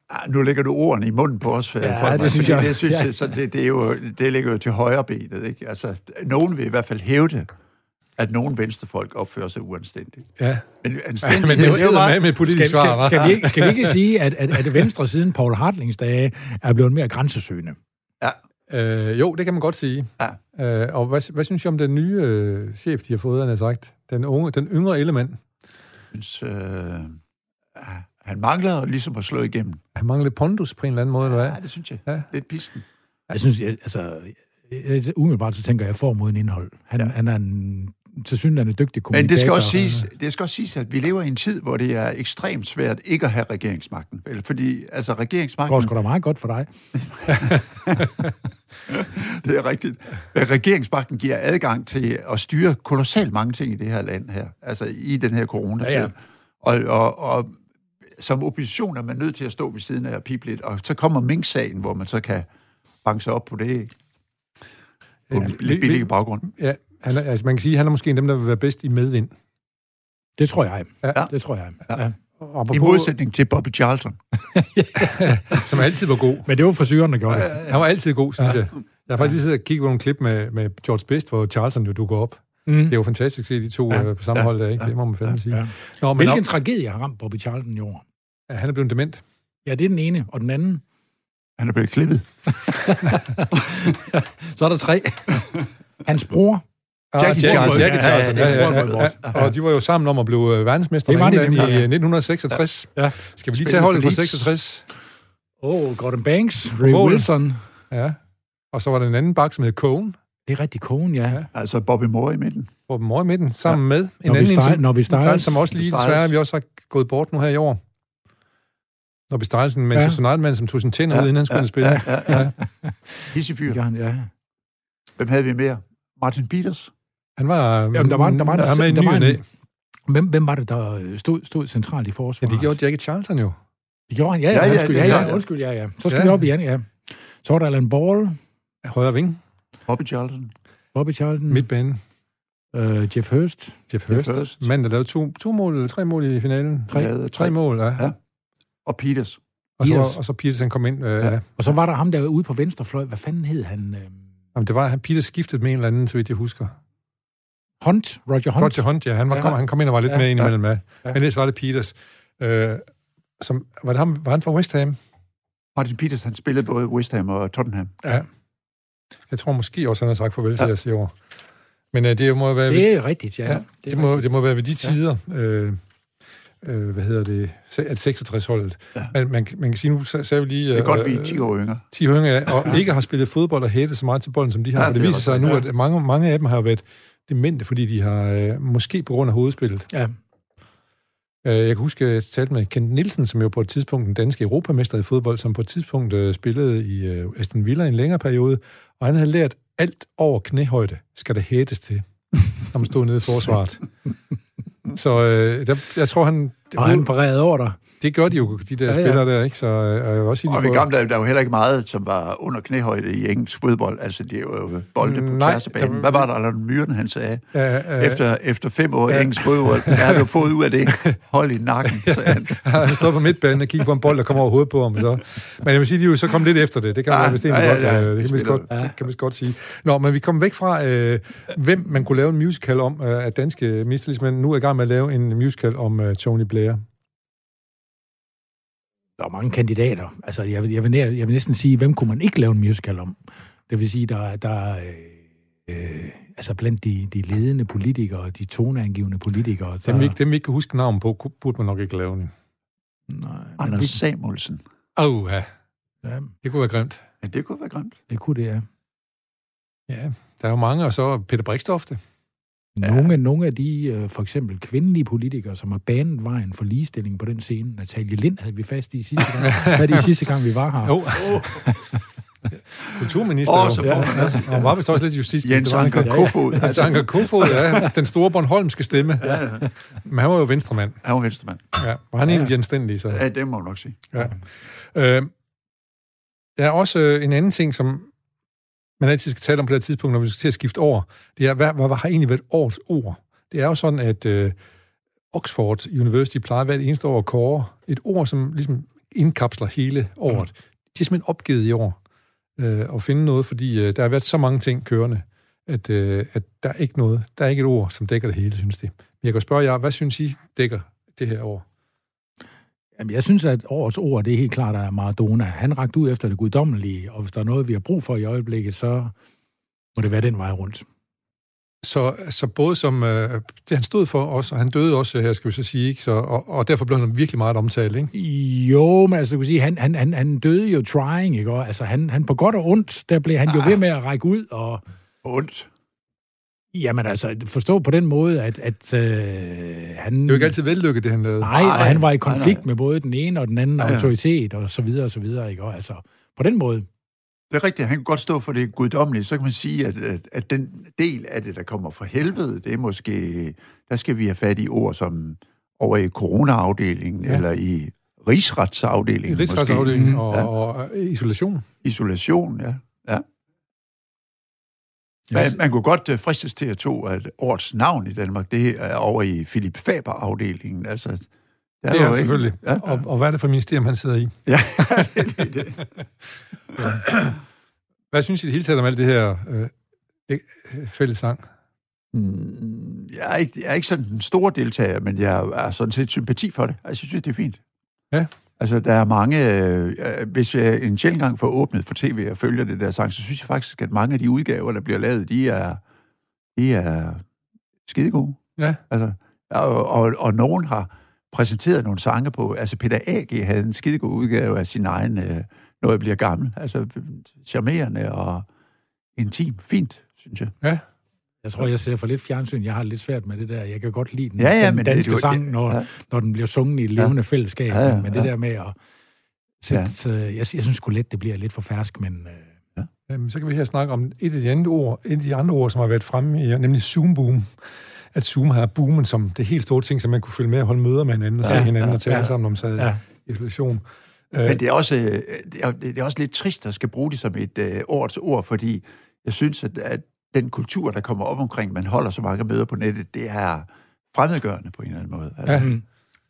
Ah, nu lægger du ordene i munden på os.
Ja,
Folkman,
det synes
fordi
jeg.
Det, synes
Ja.
jeg så det, det, er jo, det ligger jo til højre benet. Ikke? Altså, nogen vil i hvert fald hævde, at nogen venstrefolk opfører sig uanstændigt.
Ja,
Men
men
anstændighed,
det er jo
meget-
med med et politisk
Skal,
svar,
skal,
hva'?
skal, vi ikke, skal vi ikke sige, at, at, at Venstre siden Paul Hartlings dage er blevet mere grænsesøgende?
Ja,
Øh, jo, det kan man godt sige.
ja.
Øh, og hvad, hvad synes I om den nye øh, chef, de har fået, han har sagt? Den, unge, den yngre element.
synes, øh, ah, han mangler ligesom at slå igennem.
Han mangler lidt pondus på en eller anden måde, eller hvad?
Ja, det synes jeg.
Ja.
Ja. Lidt pisken.
Jeg synes, jeg, altså, jeg- jeg- umiddelbart så tænker jeg, jeg får moden indhold. Han, ja. han er en til synligheden er dygtig kommunikator.
Men det skal, også siges, det skal også siges, at vi lever i en tid, hvor det er ekstremt svært ikke at have regeringsmagten. Vel? Fordi altså,
Det går
regeringsmagten...
sgu da meget godt for dig.
det er rigtigt. Regeringsmagten giver adgang til at styre kolossalt mange ting i det her land her, altså i den her coronatid. Ja,
Ja, ja.
ja. Og, og, og som opposition er man nødt til at stå ved siden af og pipe lidt, og så kommer Mink-sagen, hvor man så kan banke sig op på det ikke? på en
vi- vi-
lidt billig baggrund.
Ja, han er, altså man kan sige, at han er måske en af dem, der vil være bedst i medvind.
Det tror jeg.
Ja.
Det tror jeg. Ja. Ja.
Og
I
apropos,
modsætning til Bobby Charlton.
som altid var god.
Men det var frisøren, der gjorde det.
Han var altid god, synes jeg. Jeg har faktisk lige siddet og kigget på nogle klip med, med George Best, hvor Charlton jo dukker op.
Mm.
Det er jo fantastisk at se de to
Ja.
ja. på samme
Ja.
hold der, ikke? Det må man fandme sige.
Ja.
Nå, men
Hvilken
Hvilken...
tragedie har ramt Bobby Charlton i år?
op, han er blevet dement.
Ja, det er den ene. Og den anden?
Han er blevet klippet.
Så er der tre. Hans bror.
Jackie Charlton.
Jackie
Ja, ja,
Charlton. Ja,
ja,
ja,
ja, ja,
ja, ja. Og de var jo sammen om at blive øh, verdensmester i
Det var de
England i
nemlig, ja.
øh, 1966.
Ja.
Skal vi lige tage
Spændende
holdet fra
forlis.
66?
Åh, oh, Gordon Banks. Ray
mål.
Wilson.
Ja. Og så var der en anden bak, som hed Cohen,
Det er rigtig kogen, ja.
Ja.
Altså Bobby Moore i midten.
hvor mor i midten, sammen med en
Når, vi
anden
style, når vi
Stiles,
starter.
som også lige
Stiles.
desværre, vi også har gået bort nu her i år. Når vi Stiles, en Manchester United-mand, som tog sin tænder
Ja,
ud, inden han skulle ind og spille.
Ja, ja, ja.
Ja.
Hisse fyr.
Ja, ja.
Hvem havde vi mere? Martin Peters?
Han var,
Jamen, der var en- der var en-
han med en
der
ny
var en-
og næ.
Hvem, hvem var det, der øh, stod, stod centralt i
Ja,
forsvaret?
det gjorde Jackie Charlton jo.
det gjorde han. Ja, ja,
Ja, ja,
undskyld, ja,
det
ja,
gjorde-
undskyld, ja, ja. Så skal
Ja.
vi op igen, ja. Så var der Alan Ball,
Højre ving,
Mm.
Bobby Charlton?
Bobby Charlton, Mit.
midtbane.
Øh, Jeff Hurst.
Jeff Hurst.
Hurst.
Mand, der lavede to, to mål eller tre mål i finalen.
Tre.
Lavede
Tre mål, ja. ja.
Ja. Og Peters.
Og, så,
Peters.
var- og så Peters, han kom ind. Øh, ja.
Ja.
Og så var der ham derude på venstrefløj. Hvad fanden hed han? Øh,
Jamen, det var, han Peters skiftede med en eller anden, så vidt jeg husker.
Hunt? Roger Hunt?
Roger Hunt, ja. Han, var,
Ja.
kom, han kom ind og var lidt
Ja.
ja. med ind imellem. Ja.
Ja.
Men ellers var det Peters. Øh, som, var, det ham, var han fra West Ham?
Martin Peters, han spillede både West Ham og Tottenham.
Jeg tror måske også, han har sagt farvel til os i år. Men øh, det må være...
Det er rigtigt, ja.
Ja,
det,
Det må, det må være ved de tider, øh, øh, hvad hedder det, se- at 66-holdet. Ja.
Ja.
Man, man, kan- man kan sige, nu sa- sagde vi lige...
Det er godt,
øh,
vi er 10 år yngre.
10 hønge af, og ikke har spillet fodbold og hættet så meget til bolden, som de har.
Ja,
Ja, det,
det
det
er
viser
ret
sig nu,
rigtigt.
at mange, mange af dem har været demente, fordi de har, øh, måske på grund af hovedspillet.
Ja.
Øh, jeg kan huske, at jeg talte med Kent Nielsen, som jo på et tidspunkt den danske europamester i fodbold, som på et tidspunkt øh, spillede i øh, Aston Villa i en længere periode, og han havde lært, alt over knæhøjde skal der hættes til, når man stod nede i forsvaret. Så øh, der, jeg tror, han, det,
Og han parerede over dig.
det gør de jo, de der ja,
Ja, ja.
ja. spillere der, ikke? Så øh, og jeg vil også sige, de
Og i
får-
gamle dage, der var heller ikke meget, som var under knæhøjde i engelsk fodbold. Altså, det er jo bolde på
Mm, nej,
tværs af banen.
der-
Hvad var der, Allan Myren, han sagde?
Ja, ja.
Efter, efter fem år i engelsk fodbold, hvad har du fået ud af det? Hold i nakken, sagde han.
han stod på midtbanen og kiggede på en bold, der kom over hovedet på ham. Så. Men jeg vil sige, at de er jo så kom lidt efter det. Det kan man
Ja,
ja, vist egentlig
Ah, ja,
godt,
ja, ja.
øh, det kan man vist godt,
Ja.
det kan man vist godt sige. Nå, men vi kom væk fra, øh, hvem man kunne lave en musical om øh, af danske mistelismen. Nu er i gang med at lave en musical om øh, Tony Blair.
Der var mange kandidater. Altså, jeg vil, jeg, vil, nær- jeg vil næsten sige, hvem kunne man ikke lave en musical om? Det vil sige, der, er- der er, øh, øh, altså blandt de, de ledende politikere, de toneangivende politikere. Der,
Ah.
Dem, vi, ikke- dem, vi ikke kan huske navn på, ku- burde man nok ikke lave den.
Nej, men
Anders
det,
Samuelsen.
Åh, oh, ja.
ja,
Det kunne være grimt.
Ja, det kunne være grimt.
det kunne det, ja.
Ja, der er jo mange, og så Peter Brikstofte.
Nogle, ja. nogle af de øh, for eksempel kvindelige politikere, som har banet vejen for ligestilling på den scene. Natalie Lind havde vi fast i sidste gang, havde de sidste gang vi var her.
Jo. Kulturminister.
Åh,
jo.
så får man også-
Og hun var vist også lidt
Jens
justitsminister. var han ikke?
Anker Kofod.
Hans Anker Kofod, ja. Den store Bornholmske stemme.
Altså- Ja, ja.
Men han var jo venstremand.
Han var venstremand.
Ja, og han er
Ja.
ja. en genstændig, så.
Ja, det må man nok sige.
Ja. Øh, der er også øh, en anden ting, som man altid skal tale om på det her tidspunkt, når vi skal til at skifte over. Det er, hvad, hvad, hvad har egentlig været årets ord? Det er jo sådan, at øh, Oxford University plejer hvert eneste år at kåre et ord, som ligesom indkapsler hele året. De er simpelthen opgivet i år øh, at finde noget, fordi øh, der har været så mange ting kørende, at, øh, at der er ikke noget, der er ikke et ord, som dækker det hele, synes de. Men jeg kan jo spørge jer, hvad synes I dækker det her år?
Jamen, jeg synes, at årets ord, det er helt klart, at Maradona, han rakte ud efter det guddommelige, og hvis der er noget, vi har brug for i øjeblikket, så må det være den vej rundt.
Så, så både som øh, det han stod for os, og han døde også her, skal vi så sige, ikke? Så, og, og derfor blev han virkelig meget omtalt, ikke?
Jo, men altså, du kan sige, han, han, han, han døde jo trying, ikke?
Ah.
Og, altså, han, han på godt og ondt, der blev han jo ved med at række ud, og
Ondt.
Jamen altså, forstå på den måde, at, at øh, han...
Det var ikke altid vellykket, det han lavede.
Nej,
Nej,
og han var i
nej,
konflikt
nej.
med både den ene og den anden
Ja, ja.
autoritet, og så videre, og så videre, ikke? Og altså, på den måde,
Det er rigtigt, han kan godt stå for det guddommelige. Så kan man sige, at, at, at den del af det, der kommer fra helvede, det er måske... Der skal vi have fat i ord som over i coronaafdelingen,
Ja.
ja. eller i rigsretsafdelingen.
Rigsretsafdelingen
Mhm.
og,
Mm-hmm. Ja.
og øh, isolation.
Måske. Isolation, ja. ja. Man,
Yes.
man kunne godt øh, fristes til at tro, at årets navn i Danmark, det er over i Philip Faber-afdelingen. Altså, det er,
Det er
jo ikke-
selvfølgelig.
Ja, ja.
Og, og hvad er det for et ministerium, han sidder i?
ja. det er det.
Hvad synes I i det hele taget om alt det her øh, øh, fællesang?
Mm, Jeg er, ikke, jeg er ikke sådan en stor deltager, men jeg er sådan set sympati for det. Altså, jeg synes, det er fint.
Ja.
Altså, der er mange... Øh, øh, hvis jeg en sjældent gang får åbnet for tv og følger det der sang, så synes jeg faktisk, at mange af de udgaver, der bliver lavet, de er, de er skide gode.
Ja.
Altså, og, og, og nogen har præsenteret nogle sange på... Altså, Peter A.G. havde en skide god udgave af sin egen øh, Når jeg bliver gammel. Altså, charmerende og intim. Fint, synes jeg.
jeg tror, jeg ser for lidt fjernsyn. Jeg har lidt svært med det der. Jeg kan godt lide den,
Ja, ja,
den
men det er
danske
jo-
sang, når,
ja.
når den bliver sunget i et levende ja. fællesskab. Ja, ja, men det ja. der med at... Sætte, ja. jeg, jeg synes sgu let, det bliver lidt for fersk, men... Øh,
Jamen, Øhm, så kan vi her snakke om et af de andre ord, et af de andre ord, som har været fremme, i, nemlig Zoom-boom. At Zoom har boomen som det helt store ting, som man kunne følge med og holde møder med hinanden og ja, se
Ja,
hinanden ja,
ja,
og tale ja,
ja.
sammen om sad ja.
Ja.
isolation.
Men det er også, øh, det er, det er også lidt trist at skal bruge det som et øh, årets ord, fordi jeg synes, at, at den kultur, der kommer op omkring, man holder så mange møder på nettet, det er fremmedgørende på en eller anden måde.
Ja.
Altså,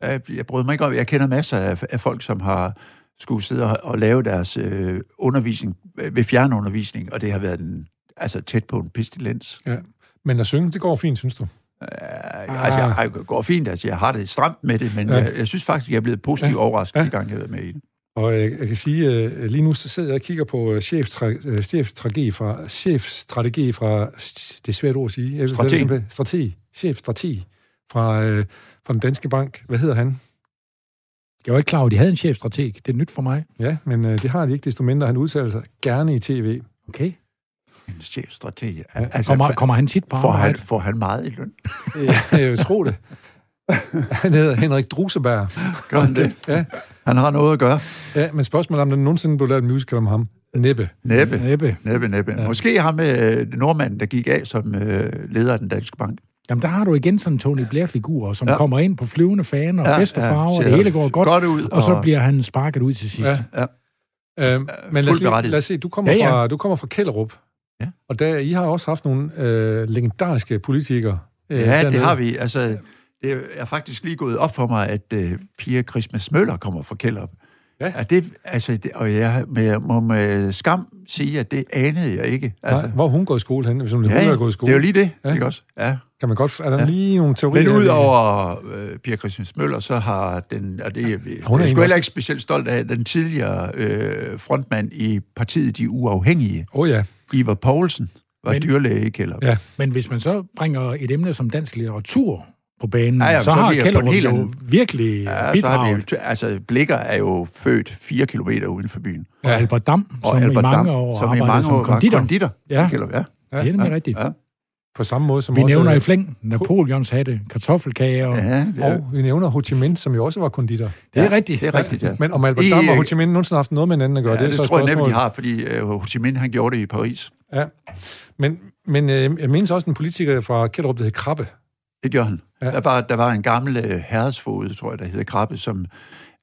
jeg, jeg bryder mig ikke om, jeg kender masser af, af folk, som har skulle sidde og, og lave deres øh, undervisning øh, ved fjernundervisning, og det har været en, altså tæt på en pestilens.
Ja. Men at synge, det går fint, synes du?
Ah. Altså, jeg, jeg går fint, altså, jeg har det stramt med det, men
Ja.
ja. jeg, jeg synes faktisk, jeg er blevet positivt ja. overrasket, ja. de gange jeg har været med i det.
Og jeg, jeg kan sige, øh, lige nu så sidder jeg og kigger på øh, chefstra- øh, chefstrategi fra, chefstrategi fra, det er svært ord at sige, Jeg-
Strateg.
simpelthen- strategi, chefstrategi fra, øh, fra den danske bank. Hvad hedder han?
jeg var ikke klar over, at de havde en chefstrateg. Det er nyt for mig.
Ja, men øh, det har de ikke, desto mindre han udtaler sig gerne i tv.
Okay.
En chefstrateg.
Ja.
Altså,
Kommer, kommer han tit på
Får han,
arbejde?
får han meget i løn?
Ja, jeg vil tro det. Han hedder Henrik Druseberg.
Gør han det?
Ja.
Han har noget at gøre.
Ja, men spørgsmålet er, om der nogensinde blev lavet en musical om ham. Næppe.
Næppe,
Næppe.
næppe, næppe. Ja. Måske ham med nordmanden, der gik af som øh, leder af den danske bank.
Jamen, der har du igen sådan en Tony Blair-figur, som
Ja.
ja. kommer ind på flyvende faner og ja,
Ja,
festefarver,
ja,
ja, og
ser
det hele går godt,
godt ud,
og så
og-
bliver han sparket ud til sidst.
Ja.
Ja.
Øhm, men lad os,
fuldt
lige,
berettiget.
lad os se, du kommer, ja,
Ja,
ja.
ja.
Fra, du kommer fra Kælderup.
Ja.
Og der, I har også haft nogle øh, legendariske politikere. Øh,
Ja, det
dernede.
har vi. Altså, det er faktisk lige gået op for mig, at øh, Pia Christmas Møller kommer fra Kælderup.
Ja.
Er det, altså, det, og jeg med, må med skam sige, at det anede jeg ikke. Altså,
Nej, hvor er hun gået i skole henne, hvis hun ja,
ja,
ja.
ja,
har gået i
det
skole.
er jo lige det,
Ja.
ja. ikke også? Ja.
Kan man godt... Er der ja. lige nogle teorier?
Men
her, vi-
udover øh, Pia Christians Møller, så har den, og det er, vi-
Hun er
jeg
en også-
sgu heller ikke specielt stolt af, den tidligere øh, frontmand i partiet De Uafhængige,
Åh oh, ja.
Ivar Poulsen, var Men,
Men-
dyrlæge i Kælder.
Ja.
Men hvis man så bringer et emne som dansk litteratur på banen,
Ja,
ja,
ja,
ja,
men
så,
så
så
er
har
vi jo på en
Kjellerup
helt
jo
anden-
virkelig ja,
Ja, så har vi,
bidraget.
jo- altså, Blikker er jo født fire kilometer uden for byen.
Og
Ja.
Albert Dam, som
Og Albert
i mange
Dam,
år
som i
arbejdede
mange år
som
var
konditor.
konditor
Ja.
i Kælder. Ja.
Ja, det er nemlig rigtigt.
Ja. øh,
På samme måde som
Vi
også...
nævner i flæng Napoleons hatte, kartoffelkager. Ja.
Ja, det, er,
Og vi nævner Ho Chi Minh, som jo også var konditor.
Det er
ja,
rigtigt.
Det er rigtigt, ja.
Men om Albert
I,
Dam og
øh,
Ho Chi Minh nogensinde har haft noget med hinanden at gøre,
Ja, det,
er så
det
et
tror jeg nemlig,
spørgsmål.
de har, fordi øh, Ho Chi Minh, han gjorde det i Paris.
Ja. Men, men øh, jeg mindes også en politiker fra Kjellerup, der hed Krabbe.
Det gjorde han.
Ja.
Ja. Der, var, der var en gammel øh, herredsfod, tror jeg, der hedder Krabbe, som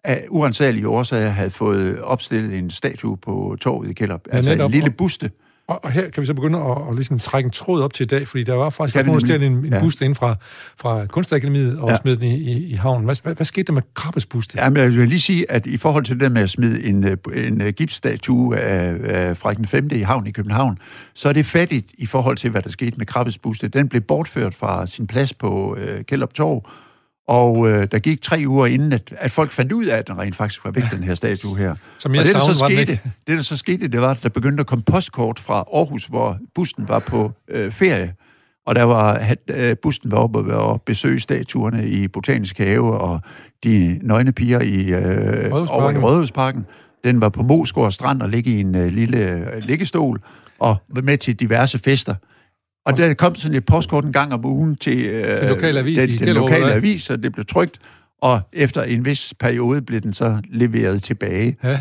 af uansagelige årsager havde fået opstillet en statue på torvet i Kælder. Ja, altså
netop.
en lille buste.
Og, og her kan vi så begynde at, at ligesom trække en tråd op til i dag, fordi der var faktisk
Kan
også
vi
nogen, der stjal
nemlig.
en, en ja.
Ja.
buste ind fra, fra Kunstakademiet og ja.
Ja.
smed den i, i, i havnen. Hvad, hvad, hvad skete der med Krabbes buste? Ja.
Jamen, jeg vil lige sige, at i forhold til det der med at smide en, øh, en øh, gipsstatue af, af Frederik den 5. i havn i København, så er det fattigt i forhold til, hvad der skete med Krabbes buste. Den blev bortført fra sin plads på øh, Kælderp Torv, og øh, der gik tre uger inden, at, at folk fandt ud af, at den rent faktisk var væk, den her statue her.
Som jeg
og det, der så
savner, var den
skete,
ikke.
det, der så skete, det var, at der begyndte at komme postkort fra Aarhus, hvor busten var på øh, ferie. Og der var, at øh, busten var oppe og besøge statuerne i Botanisk Have, og de nøgne piger i, øh,
Rådhusparken.
over i Rødhusparken. Den var på Mosgård Strand og ligge i en øh, lille øh, liggestol, og var med til diverse fester. Og der kom sådan et postkort en gang om ugen til, øh,
Til lokal avis i
den, den
Kjellerup,
lokale
eller hvad?
avis, og det blev trygt. Og efter en vis periode blev den så leveret tilbage,
Ja.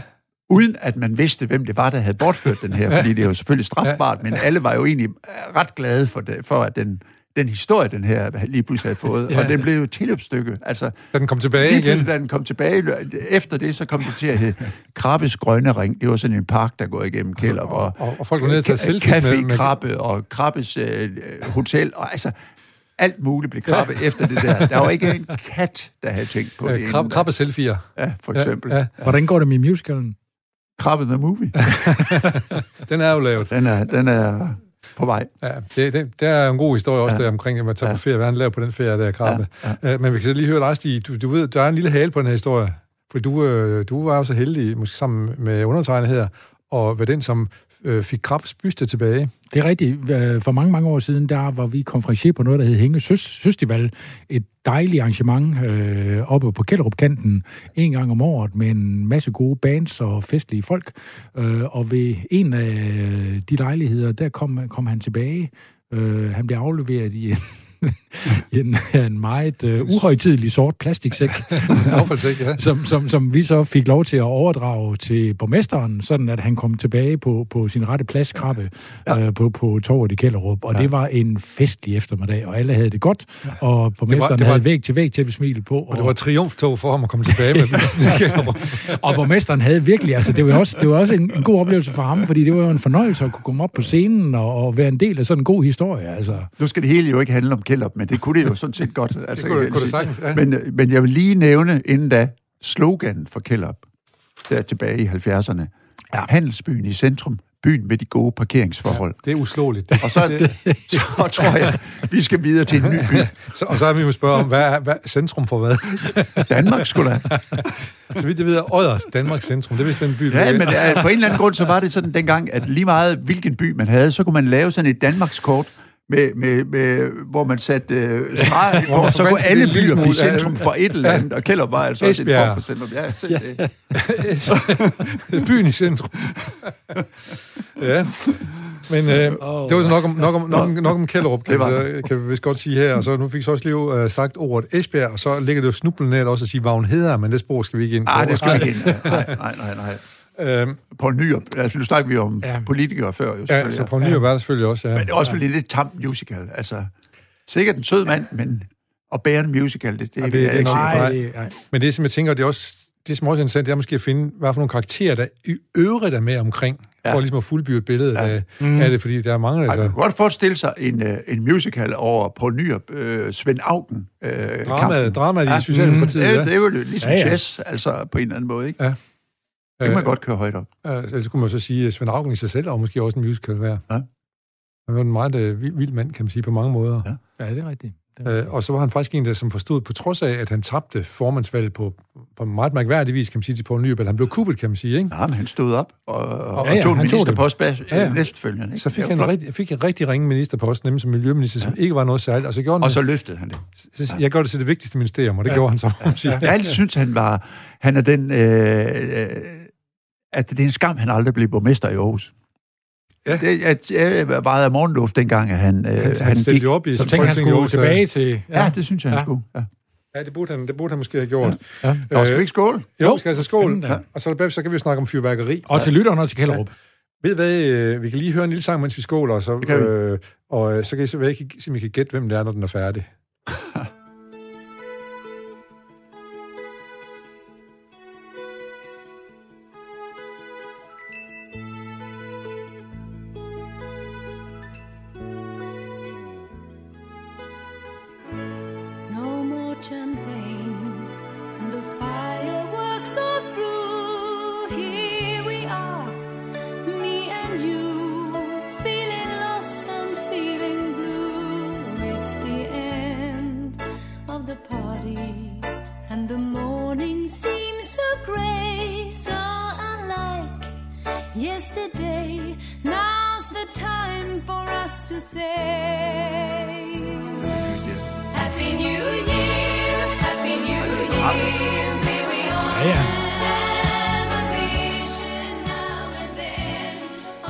uden at man vidste, hvem det var, der havde bortført den her, fordi det er jo selvfølgelig strafbart, men alle var jo egentlig ret glade for, det, for at den, den historie, den her lige pludselig havde fået,
Ja.
og den blev jo et tilløbsstykke. Altså,
Da den kom tilbage
Lige
igen.
pludselig, da den kom tilbage, lø- efter det, så kom det til at hedde Krabbes Grønne Ring. Det var sådan en park, der går igennem Kælder. Og,
Altså, og- og folk var nede og tage
Ka-
selfies
Café
med- med-
Krabbe og Krabbes øh, øh, Hotel. Og altså, alt muligt blev Krabbe efter det der. Der var ikke en kat, der havde tænkt på det.
Øh, krab,
inden.
krabbe selfier.
Ja, for eksempel.
Ja, ja.
Hvordan går det med musicalen?
Krabbe the Movie.
Den er jo lavet.
Den er, den er på vej.
Ja, det, det, der er jo en god historie også ja. der omkring, at man tager ja. på ferie. Hvad han laver på den ferie, der er krabbe. Ja. Ja. Øh, Men vi kan så lige høre dig, Stig. Du, du ved, der er en lille hale på den her historie. For du, øh, du var jo så heldig, måske sammen med undertegnet her, og var den, som øh, fik krabbes byste tilbage.
Det er rigtigt. Øh, For mange, mange år siden, der var vi konferencier på noget, der hed Hænge Søs- Søstival. Et dejligt arrangement øh, oppe på Kælderupkanten en gang om året med en masse gode bands og festlige folk. Øh, og ved en af øh, de lejligheder, der kom, kom han tilbage. Øh, han blev afleveret i en, i en, en meget øh, uhøjtidelig sort plastiksæk.
Affaldsæk, ja.
som, som, som vi så fik lov til at overdrage til borgmesteren, sådan at han kom tilbage på, på sin rette plads, Krabbe, ja. øh, på, på torvet i Kælderup. Og ja. det var en festlig eftermiddag, og alle havde det godt, og borgmesteren det var, det
var-
var, havde væg til væg til at besmile på.
Og det var et triumftog for ham at komme tilbage med bysten. i Kjellerup.
og borgmesteren havde virkelig, altså det var jo også, det var også en, en god oplevelse for ham, fordi det var jo en fornøjelse at kunne komme op på scenen og, og være en del af sådan en god historie, altså.
Nu skal det hele jo ikke handle om Kjellop, men det kunne det jo sådan set godt. Altså,
kunne det-
jeg vil
kunne det
sige.
sagtens, ja.
men, øh, men jeg vil lige nævne inden da sloganen for Kjellop, der tilbage i 70'erne. Ja. Handelsbyen i centrum, byen med de gode parkeringsforhold.
det er uslåeligt. Det.
Og så, er det, så tror jeg, vi skal videre til en ny by.
Så, og så har vi jo spørge om, hvad er hvad, er centrum for hvad?
Danmark skulle da.
Så vidt jeg ved, er Odders Danmarks centrum. Det er vist den by, vi er
Ja,
i.
men øh, på en eller anden grund, så var det sådan dengang, at lige meget hvilken by man havde, så kunne man lave sådan et Danmarkskort, med, med, med, hvor man satte øh, streger
Hvor man
på, så kunne
forvandt det
alle
en lille
byer blive
smule, ja.
centrum for et eller andet, og Kjellop var altså også et
Esbjerg.
form for centrum. Ja, se det.
Byen i centrum. ja. Men øh, oh, det var så nok om, nok om, nok om, nok om Kjellerup, kan,
Det var
vi, kan vi vist godt sige her. Og så nu fik så også lige øh, sagt ordet Esbjerg, og så ligger det jo snublende nært også at sige Vagn Heder, men det spor skal vi ikke ind på.
Nej, Ah, det skal vi ikke. ind. Nej, nej, nej. nej.
Øhm,
På Nyrup, altså nu snakker vi om
Ja.
ja. politikere før, jo
ja,
selvfølgelig.
så på Nyrup er der selvfølgelig også, ja.
Men det er også lidt et tamt musical, altså. Sikkert en sød mand, men at bære en musical, det, det,
det-
det, det er
det-
jeg ikke sikker
nej.
på.
nej.
Men det, som jeg tænker, det er også det, som også er interessant, det er måske at finde, hvad for nogle karakterer, der i øvrigt er med omkring, ja. for ligesom at fuldbyrde billedet ja. af, mm. af det, fordi der er mange,
Ej, man
altså...
kan godt forestille sig en, øh, en musical over på Nyrup, øh, Svend Augen. Øh,
Dramaet, dramaet i
det,
Socialdemokratiet, ja.
er- det er jo ligesom
Ja,
ja,
ja.
ja. jazz, altså på en eller anden måde, ikke?
Ja.
Det kan man
Øh,
godt køre højt op.
Øh, altså kunne man så sige, at Svend Auken i sig selv er jo måske også en musical hver.
Ja.
Han var en meget øh, vild, vild mand, kan man sige, på mange måder.
Ja.
Ja, det er rigtigt. Det er rigtigt.
Øh, og så var han faktisk en, der som forstod, på trods af, at han tabte formandsvalget på, på meget mærkværdig vis, kan man sige, til Poul Nyrup, eller han blev kuppet, kan man sige, ikke?
Nej, men han stod op og, og,
Ja, ja,
og tog en
han tog det.
ministerpost bag
Ja,
ja,
ja.
ja. øh, næstfølgende. Ikke?
Så fik
Det var
han en
flot.
rigtig, fik en rigtig ringe ministerpost, nemlig som miljøminister, som ikke var noget særligt, og så gjorde
Og
han,
så løftede han det.
så, jeg gør det til det vigtigste ministerium, og det ja. gjorde han så, må man sige.
Jeg har altid synes han var... Han er den... Øh, øh, at det er en skam, han aldrig blev borgmester i Aarhus.
Ja.
Ja. Det, at, jeg var meget af morgenluft, dengang at han, øh,
Han, han stillede jo op i
Så tænkte han
Folketinget
skulle
i Aarhus,
tilbage til...
Ja, det synes jeg, han
Ja.
ja. skulle. Ja.
ja. Ja, det burde han, det burde han måske have gjort.
Ja.
Nå, skal vi ikke skåle?
Øh, jo, skal altså skål.
Fanden da.
Og så, så kan vi jo snakke om fyrværkeri.
Og til lytterne og til Kælderup.
Ved I hvad, øh, vi kan lige høre en lille sang, mens vi skåler, og så,
kan vi.
øh, og øh, så kan I se, hvad I kan, se, om I kan gætte, hvem det er, når den er færdig.
No more champagne, and the fireworks are through. Here we are, me and you, feeling lost and feeling blue. It's the end of the party, and the morning seems so grey, so unlike yesterday. Now's the time for us to say. Happy New Year, Happy New Year. May we all
Ja.
have a vision now and then of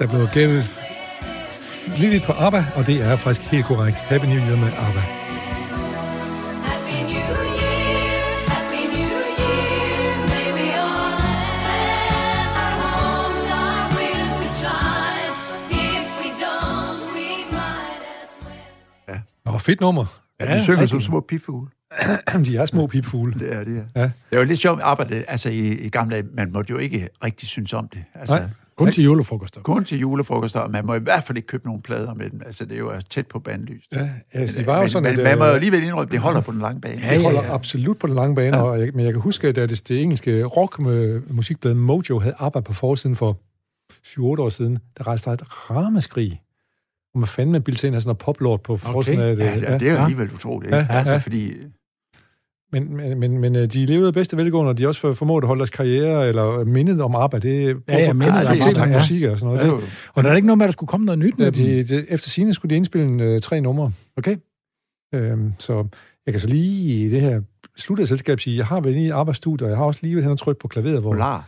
a
Der blev gættet lige lidt på ABBA, og det er faktisk helt korrekt. Happy New Year med ABBA.
Happy New Year, Happy New Year. May we all have our homes, our will to try. If we don't, we might as well.
Nå, fedt nummer.
Ja,
Ja,
de synger som
rigtig.
små pipfugle.
De er små pipfugle.
Det er det, ja.
Ja.
Det er jo lidt sjovt at arbejde. Altså, i, i gamle dage, man måtte jo ikke rigtig synes om det. Altså,
Nej.
Kun til julefrokoster.
kun til julefrokoster, og man må i hvert fald ikke købe nogen plader med dem. Altså, det er jo tæt på bandlyst.
Ja, altså, det var jo
men,
sådan,
men,
at,
man må
øh,
jo alligevel indrømme, det holder på den lange bane.
Det holder
ja, ja.
absolut på den lange bane, ja. og jeg, men jeg kan huske, at da det, det engelske rockmusikblad Mojo havde ABBA på forsiden for 7-8 år siden, der rejste der et ramaskrig. Og man fandme man bildte sig ind af sådan noget poplort på forsiden af det.
Ja, ja, det er jo
Ja.
alligevel utroligt.
Ja,
Ikke?
ja.
Altså, fordi
Men, men, men, men øh, de levede bedste velgående, og de har også for- formået at holde deres karriere, eller mindet om ABBA, det er på
Ja, ja, mindet
om
kvalitet
ABBA,
af
ja.
musik og sådan
det er
noget. Ja.
jo
Og der er ikke noget med, at der skulle komme noget nyt med
Det,
dem.
de, de, efter sine skulle de indspille øh, tre numre.
Okay.
Øhm, så jeg kan så lige i det her sluttede selskab sige, jeg har været inde i arbejdsstudiet, og jeg har også lige været hen og trykke på klaveret, hvor
polar.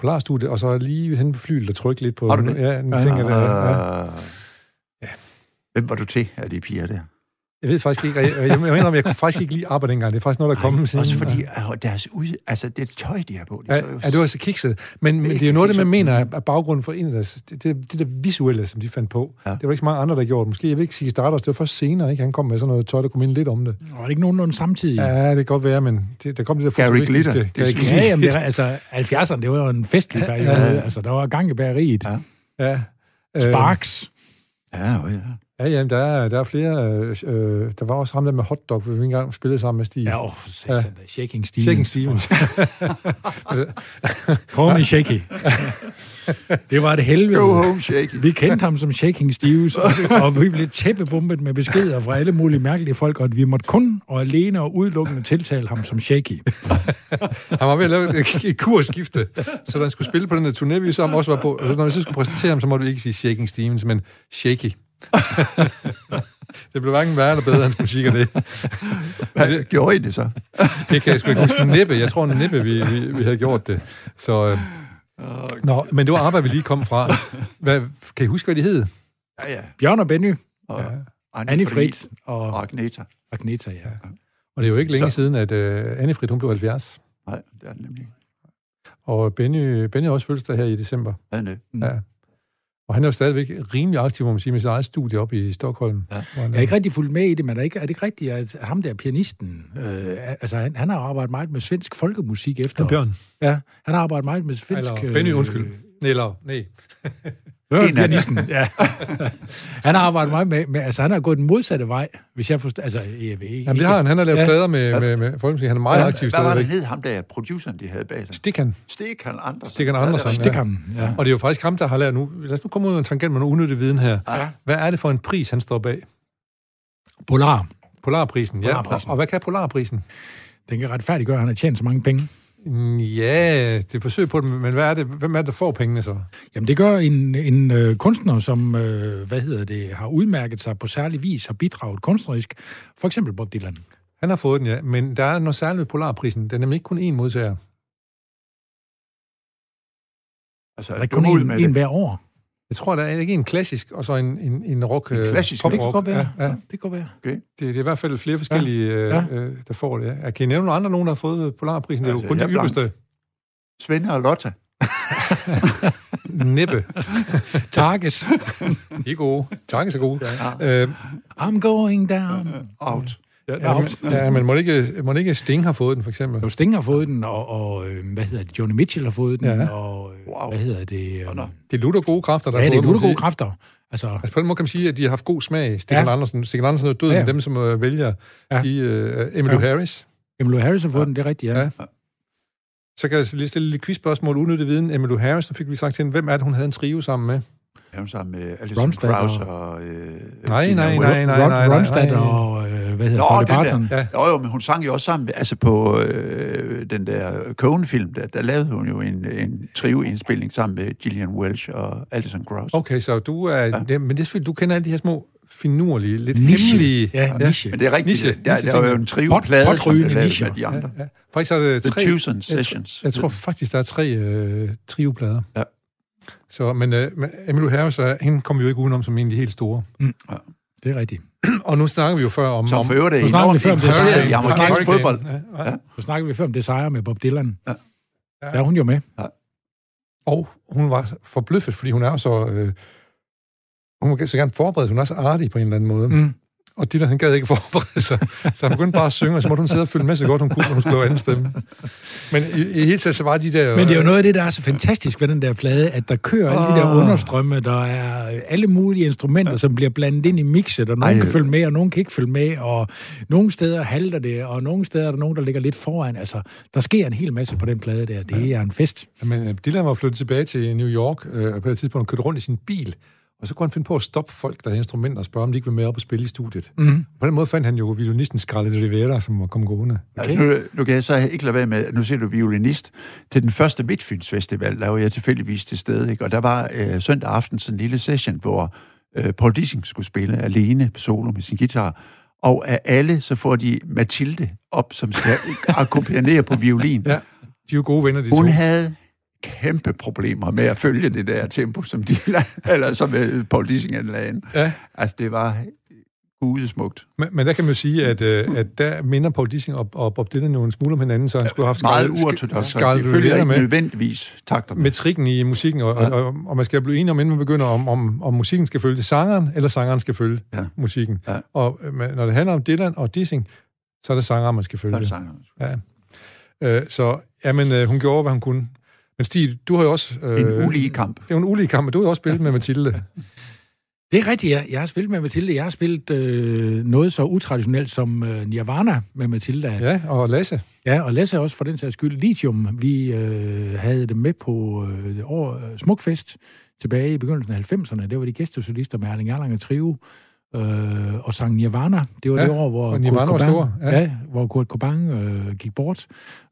Polarstudiet, og så lige hen på flyet og trykke lidt på...
Har du det?
Ja, en
Ja,
ting, ja, ja.
Øh, Hvem var du til af de piger der?
Jeg ved faktisk ikke, og jeg, jeg mener, om jeg kunne faktisk ikke lige arbejde dengang. Det er faktisk noget, der er kommet siden.
Også fordi øh, deres ud, altså det tøj, de har på, det
Ja,
så jo
ja, det var så kikset. Men, men det er jo noget, det man mener er- er baggrunden for en af deres, det, det, det der visuelle, som de fandt på. Ja.
Ja.
Det var ikke så mange andre, der gjorde det. Måske, jeg vil ikke sige Stardust, det var først senere, ikke? Han kom med sådan noget tøj, der kunne minde lidt om det.
Og er det ikke nogenlunde samtidig? Ja,
Ja, det kan godt være, men det, der kom det der
Gary Glitter.
futuristiske...
Det
Gary
synes
Glitter.
jamen, det, er- altså 70'erne, det var jo en festlig periode. Ja, ja. Altså, der var gang i bageriet. Ja.
Ja.
Ja. Øh,
Sparks.
Ja, jo, ja.
Ja, jamen, der er, der er flere... Øh, øh, der var også ham der med hotdog, hvor vi engang spillede sammen med Stig.
Ja, åh, for satan da. Shaking Stevens.
Shaking Stevens.
Call me Shaky. det var et helvede.
Go home, shaky.
Vi kendte ham som Shaking Steves, og, og vi blev tæppebumpet med beskeder fra alle mulige mærkelige folk, og at vi måtte kun og alene og udelukkende tiltale ham som Shaky.
Han var ved at lave et, et kursskifte, så da han skulle spille på den der turné, vi sammen også var på. Og når vi så skulle præsentere ham, så måtte vi ikke sige Shaking Stevens, men Shaky. det blev hverken værre eller bedre, hans musik og det.
Hvad gjorde I det så?
Det kan jeg sgu ikke huske. Nippe, jeg tror Nippe, vi, vi, vi havde gjort det. Så, øh. Nå, men det var arbejde, vi lige kom fra. Hvad, kan I huske, hvad de hed?
Ja, ja.
Bjørn og Benny,
Og ja. Anne,
Annie
Frid
Frit og
og Agneta.
Agneta, ja.
Og det er jo ikke længe
Så-
siden, at øh, Anne Frid, hun blev 70.
Nej, det er den nemlig.
Og Benny, Benny har også fødselsdag her i december.
Anne.
Ja. Og han er jo stadigvæk rimelig aktiv, må man sige, med sit eget studie op i Stockholm.
Ja.
hvor han
Jeg
er-
er ikke rigtig fulgt med i det, men er, ikke, er det ikke rigtigt, at ham der pianisten, øh, altså han, han har arbejdet meget med svensk folkemusik efter.
Han Bjørn.
Ja, han har arbejdet meget med svensk... øh,
Eller Benny, undskyld. Eller, nej.
Bjørn,
En af dem.
pianisten, ja. han har arbejdet meget med, med... Altså han har gået den modsatte vej, hvis jeg forstår... Altså, jeg ved ikke...
Jamen, det har han. Han har lavet
Ja.
plader med, med, med folkemusik. Han er meget
Hvad,
aktiv
hvad var det
stadigvæk.
hed ham der, produceren, de havde bag sig?
Stik han.
Stik han Andersen.
Stikkan Andersen,
Ja, det
Det kan han, ja.
Og det er jo faktisk ham, der har lært nu. Lad os nu komme ud af en tangent med noget unyttig viden her.
Ja.
Hvad er det for en pris, han står bag?
Polar,
Polarprisen, ja.
Polarprisen.
Og hvad kan Polarprisen?
den kan retfærdiggøre, at han har tjent så mange penge.
Mm, Ja, det er forsøg på det, men hvad er det? hvem er det, der får pengene så?
Jamen det gør en, en øh, kunstner, som øh, hvad hedder det, har udmærket sig på særlig vis, har bidraget kunstnerisk. For eksempel Bob Dylan.
Han har fået den, ja. Men der er noget særligt ved Polarprisen. Der er nemlig ikke kun én modtager.
Altså,
Der er
dum ud
kun en,
med
en
det.
hver år.
Jeg tror, der er ikke en klassisk, og så en, en, en rock...
En
øh,
klassisk
pop-
Det kan
rock.
godt være.
Ja, ja.
Det kan godt være.
Det, det er i hvert fald flere forskellige, ja.
Ja.
Øh, der får det. Ja. Kan I nævne nogle andre, nogen, der har fået Polarprisen? Det er jo
Altså,
kun
jeg
de
er blank.
ypperste.
Svende og Lotta.
Næppe.
Targets.
De er gode. Tanken er gode. Ja. Øh,
I'm going down.
Out.
ja, men, ja, men må det ikke, må det ikke Sting har fået den, for eksempel?
Jo, Sting har fået den, og, og øh, hvad hedder det, Johnny Mitchell har fået den,
Ja.
ja. og øh,
Wow.
hvad hedder det... Øh,
Nå, nå.
Det er lutter gode kræfter, der
ja,
har
det er
fået
nogle
må man sige.
gode kræfter. Altså,
Altså på den måde kan man sige, at de har haft god smag. Stikken ja.
Ja.
Andersen, Stikken Andersen er døden, ja.
Ja.
dem som øh, vælger. Ja.
Ja.
De, øh, Emmylou ja.
Ja.
Harris.
Emmylou Harris har fået ja. den, det er rigtigt, ja.
Ja.
ja.
Så kan jeg lige stille et lille quizspørgsmål, unødig viden. Emmylou Harris, så fik vi sagt til hende, hvem er det, hun havde en trio sammen med?
Er hun sammen med Alison
Ronstadt
Krause
og-
og... Øh,
Nej,
Gina
nej,
Rød-
nej, nej, nej, nej,
Ronstadt
nej.
og, øh, hvad hedder
Nå,
Dolly
den der.
Parton.
Ja.
Jo, jo, men hun sang jo også sammen med, altså på øh, den der Cohen-film, der, der lavede hun jo en, en trio-indspilning sammen med Gillian Welch og Alison Krauss.
Okay, så du er... Ja. Ja, men det er selvfølgelig, du kender alle de her små finurlige, lidt
Niche.
hemmelige...
Ja, niche.
Men det er rigtigt,
Niche,
niche, der,
niche
der var jo
ting.
en trio-plade, som
Pot- potrygende
blev lavet
nicher.
med de andre. Ja,
Ja. Faktisk er det
The
tre...
Tucson
Jeg,
Sessions.
jeg tror faktisk, der er tre øh, trioplader.
Ja.
Så, men øh, men Emmylou Harris, er- hende kom vi jo ikke udenom som en af de helt store.
Det er rigtigt.
Og nu snakker vi jo før om...
Som
om
for øvrigt er
Nu snakker vi
enormt
før om det
interesseret
samme.
i amerikansk fodbold.
Ja, ja.
Ja.
Så snakker vi før om det sejre med Bob Dylan.
Ja.
Ja. Der er hun jo med.
Og hun var forbløffet, fordi hun er jo så... Øh, hun vil så gerne forberede sig. Hun er så artig på en eller anden måde. Mm.
Mm.
Og Dylan, han gad ikke forberede sig. Så han begyndte bare at synge, og så måtte hun sidde og følge med så godt, hun kunne, når hun skulle lave anden stemme. Men i, i hele taget, så var de der...
Men det er jo noget af det, der er så fantastisk ved den der plade, at der kører alle de der
Åh.
understrømme, der er øh, alle mulige instrumenter, som bliver blandet ind i mixet, og nogen
Ej,
kan
øh.
følge med, og nogen kan ikke følge med, og nogle steder halter det, og nogle steder er der nogen, der ligger lidt foran. Altså, der sker en hel masse på den plade der. Det er en fest.
Men øh, Dylan var flyttet tilbage til New York, øh, og på et tidspunkt kørte rundt i sin bil, og så kunne han finde på at stoppe folk, der havde instrumenter, og spørge, om de ikke ville med op og spille i studiet. Mm.
Mhm.
På den måde fandt han jo violinisten Scarlett Rivera, som var kommet gående.
Okay. Nu, nu kan jeg så ikke lade være med, nu ser du violinist, til den første Midtfyns Festival, der var jeg tilfældigvis til stede, ikke? og der var øh, søndag aften sådan en lille session, hvor øh, Paul Dissing skulle spille alene på solo med sin guitar, og af alle, så får de Mathilde op, som skal akkompagnere på violin.
Ja, de er jo gode venner, de
Hun
to.
havde kæmpe problemer med at følge det der tempo, som, de, eller som øh, Paul Dissing anlagde. ind.
Ja.
Altså, det var gudesmukt.
Men, men der kan man jo sige, at, øh, at der minder Paul Dissing og, og Bob Dylan jo en smule om hinanden, så han skulle have haft
Meget
Scarlett-
uortodoks.
Scarlett
Det følger
Rivera
ikke
med.
nødvendigvis takter
med trikken i musikken, og, ja. og, og, og man skal blive enig om, inden man begynder, om, om, om musikken skal følge sangeren, eller sangeren skal følge ja.
Ja.
musikken.
Ja.
Og øh, men når det handler om Dylan og Dissing, så er det sangeren, man skal følge.
med sangeren.
Øh, så jamen, øh, hun gjorde, hvad hun kunne. Men Stig, du har jo også... Øh,
En ulige kamp.
Det er jo en ulige kamp, men du har jo også spillet med Mathilde.
Det er rigtigt, jeg, jeg har spillet med Mathilde. Jeg har spillet øh, noget så utraditionelt som øh, Nirvana med Mathilde.
Ja, og Lasse.
Ja, og Lasse også for den sags skyld. Lithium, vi øh, havde det med på øh, år, øh, Smukfest tilbage i begyndelsen af 90'erne. Det var de gæstesolister med Erling Erlang og Trio øh, og sang Nirvana. Det var
Ja,
det år, hvor
og Nirvana var
Kurt Cobain,
store, ja.
ja. ja, hvor Kurt Cobain øh, gik bort.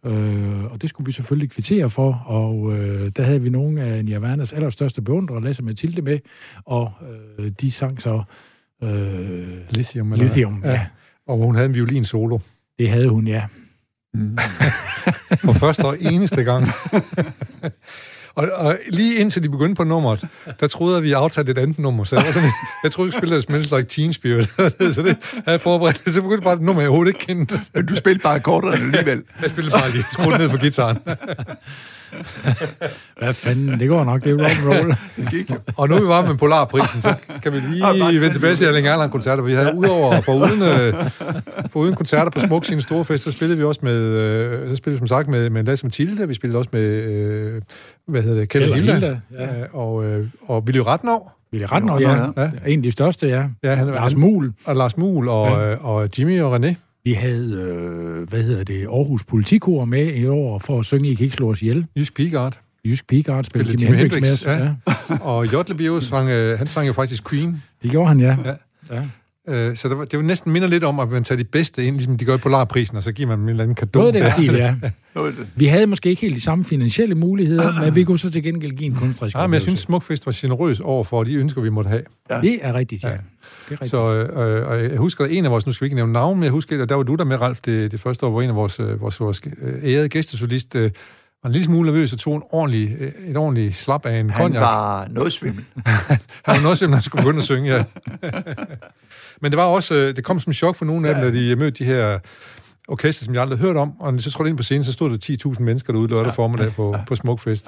Øh, og det skulle vi selvfølgelig kvittere for, og øh, der havde vi nogle af Nirvanas allerstørste beundrere, Lasse og Mathilde med, og øh, de sang så øh,
Lithium. Eller hvad?
Lithium. Ja. ja,
Og hun havde en violin solo.
det havde hun, ja.
For første og eneste gang. og, og, lige indtil de begyndte på nummeret, der troede jeg, vi aftalte et andet nummer. Så jeg, var sådan, jeg troede, vi spillede Smells Like Teen Spirit. så det havde jeg forberedt. Så begyndte bare et nummer, jeg overhovedet ikke kendte.
Men du spilte bare kortere alligevel.
Jeg spillede bare lige skruet ned på gitaren.
Hvad fanden, det går nok, det er rock'n'roll.
Det gik jo.
Og nu er vi bare med Polarprisen, så kan vi lige vende tilbage til Erling Erland koncerter. Vi havde udover for uden, øh, for uden koncerter på Smuk sine store fest, så spillede vi også med, øh, så spillede vi som sagt med, med Lasse Mathilde, vi spillede også med, øh, hvad hedder det, Kjell og
Kjeld og
Hilda,
Hilda,
ja. og, øh, og Ville Ratnov,
Ville Ratner,
Nå,
ja.
ja.
ja. En af de største, ja.
Ja, han-
Lars
han-
Muhl.
og Lars Muhl, og,
Ja.
ja. og Jimmy og René.
Vi havde, øh, hvad hedder det, Aarhus Politikor med i år for at synge I kan ikke slå os ihjel.
Jysk Pigard.
Jysk Pigard spillede Jimi
Jimi
Hendrix, med
Hendrix,
os.
ja.
Ja. ja.
Og Jotlebio sang, øh, han sang jo faktisk Queen.
Det gjorde han, ja.
Ja.
ja. ja.
Øh, så det, var, det var næsten minder lidt om, at man tager de bedste ind, ligesom de gør i Polarprisen, og så giver man dem en eller anden
Både
kado.
den stil, ja.
Noget af det.
Vi havde måske ikke helt de samme finansielle muligheder, men vi kunne så til gengæld give en kunstnerisk
Ja, Ah, men jeg synes,
oplevelse.
Smukfest var generøs overfor de ønsker, vi måtte have.
Det er rigtigt, ja.
Ja.
ja. Det er rigtigt.
Så øh, øh, og jeg husker, at en af vores, nu skal vi ikke nævne navn, men jeg husker, at der var du der med, Ralf, det, det første år, hvor en af vores, øh, vores, vores øh, ærede gæstesolist øh, var en lille smule nervøs og tog en ordentlig, øh, et ordentligt slap af en
Han
konjak.
var noget svimmel.
Han var også, når han skulle begynde at synge, ja. Men det var også, øh, det kom som chok for nogle af dem, da de øh, mødte de her orkester, som jeg aldrig havde hørt om, og så trådte jeg ind på scenen, så stod der 10.000 mennesker derude lørdag formiddag på, på Smukfest.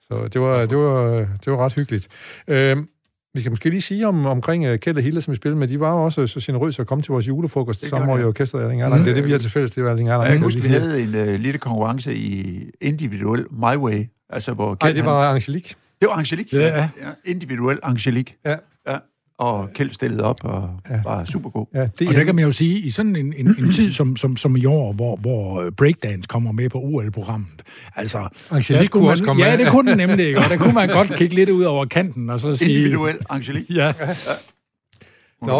Så det var, det var, det var ret hyggeligt. Øhm, vi kan måske lige sige om, omkring øh, Kjeld og Hilde, som vi spillede med, de var jo også øh, så generøse at komme til vores julefrokost
Det
samme
gør
år
de,
i
ja.
orkestret Erling Erlang.
Mhm.
Det er det, vi har til fælles, det er Erling Erlang.
Jeg
skal
kan
lige
huske, vi
sige.
havde en øh, lille konkurrence i individuel My Way. Altså, hvor
Ej,
Kjeld,
det
han,
var Angelique.
det var Angelique.
Ja, ja.
Individuel Angelique.
Ja.
ja. Og Kjeld stillede op og var super god.
Ja, det
Og der kan man jo sige, i sådan en, en, en tid som, som, som i år, hvor, hvor øh, breakdance kommer med på OL-programmet, altså...
Angelique
der skulle
kunne
man,
også komme
Ja,
med.
det kunne den nemlig, ikke? Og der kunne man godt kigge lidt ud over kanten og så sige...
Individuel Angelique.
Ja,
Nå,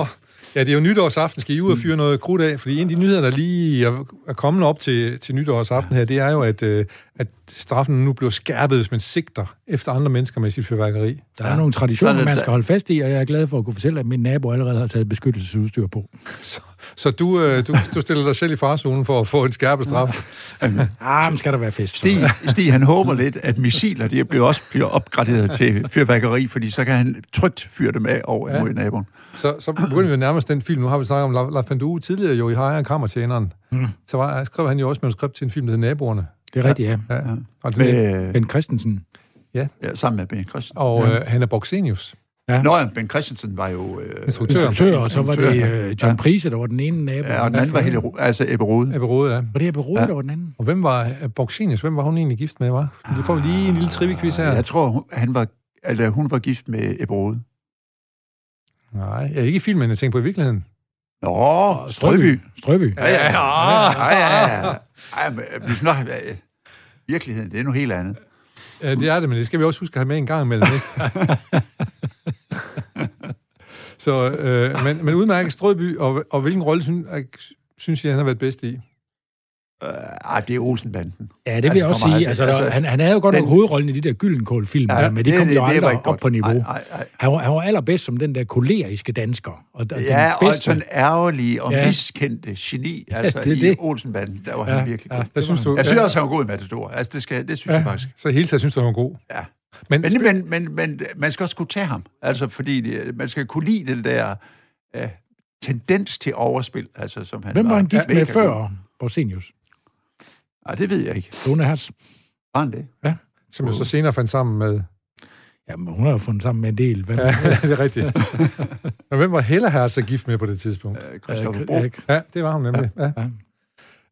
ja, det er jo nytårsaften. Skal I ud og fyre noget krudt af? Fordi en af de nyheder, der lige er er kommet op til, til nytårsaften her, det er jo, at, øh, at straffen nu bliver skærpet, hvis man sigter efter andre mennesker med sit fyrværkeri.
der er nogle traditioner,
Sådan er
man
det.
skal holde fast i, og jeg er glad for at kunne fortælle, at min nabo allerede har taget beskyttelsesudstyr på.
Så, Så du, øh, du, du stiller dig selv i farzonen for at få en skærpet straf.
Ah, men skal der være fest. så.
Stig, Stig, han håber lidt, at missiler de bliver også bliver opgraderet til fyrværkeri, fordi så kan han trygt fyre dem af over ja. mod naboen.
Så, så begynder vi nærmest den film. Nu har vi snakket om La, La Pandue tidligere jo i Hejer og Kammertjeneren. Mm. Så var, skrev han jo også manuskript til en film, der hedder Naboerne.
Det er rigtigt, ja.
Ja, ja. Og, den-
Med,
Ben Christensen.
ja, sammen med Ben Christensen.
og øh, Hanna Borgsenius.
Ja.
Nå ja, Ben Christensen var jo... Øh,
Instruktør.
Instruktør, og så var det
Instruktør,
øh, John Prise, der var den ene nabo.
ja, og den anden var hele, altså Ebbe Rode.
Ebbe Rode, ja.
Og det er Berode, der var den anden.
Og hvem var Borgsenius? Hvem var hun egentlig gift med, var? Det får vi lige en lille trivia-quiz her.
Jeg tror, hun- han var, altså, hun var gift med Ebbe Rode.
Nej, ja, ikke i filmen, jeg tænker på i virkeligheden.
Nå, Strøby.
Strøby.
Ja, ja, ja. ja, ja, ja. Ej, men, øh, vi snakker, øh, virkeligheden, det er noget helt andet.
Ja, det er det, men det skal vi også huske at have med en gang imellem, ikke? Så, øh, men, men udmærket Strøby, og, og hvilken rolle synes, synes I, han har været bedst i?
Øh, Ej, det er Olsenbanden.
Ja, det vil
Altså,
jeg også
for mig,
sige.
altså,
Altså, der,
altså,
han, han er jo godt nok
den-
hovedrollen i de der gyldenkål-film,
Ja,
ja, men de
det-
kom
det-
jo
det var
aldrig
ikke
op
godt.
på niveau.
Ej, ej, ej.
Han var, han var allerbedst som den der koleriske dansker. Og der,
Ja,
den
og
bedste,
sådan ærgerlige og
Ja.
ja. miskendte geni, altså
det er
i
det.
Olsenbanden, der var
Ja,
han virkelig
ja.
god.
Der synes du,
Jeg synes også, han var god i Matador. Altså, det, skal, det synes ja. jeg faktisk.
så hele tiden synes du, han var god.
Ja.
Men,
Men, men, men, men man skal også kunne tage ham, altså fordi det, man skal kunne lide den der øh, tendens til overspil, altså som han
Hvem var han gift
mega
med
god.
før Borsenius?
Ej, Ah, det ved jeg ikke.
Lone Hers.
Var han det? Øh,
som jo så senere fandt sammen med...
Jamen, hun har jo fundet sammen med en del. Hvem?
Ja, det er rigtigt. Og hvem var Hella her så gift med på det tidspunkt?
Øh, Christoffer Bro.
Øh, øh,
Ja, det var hun nemlig. Ja.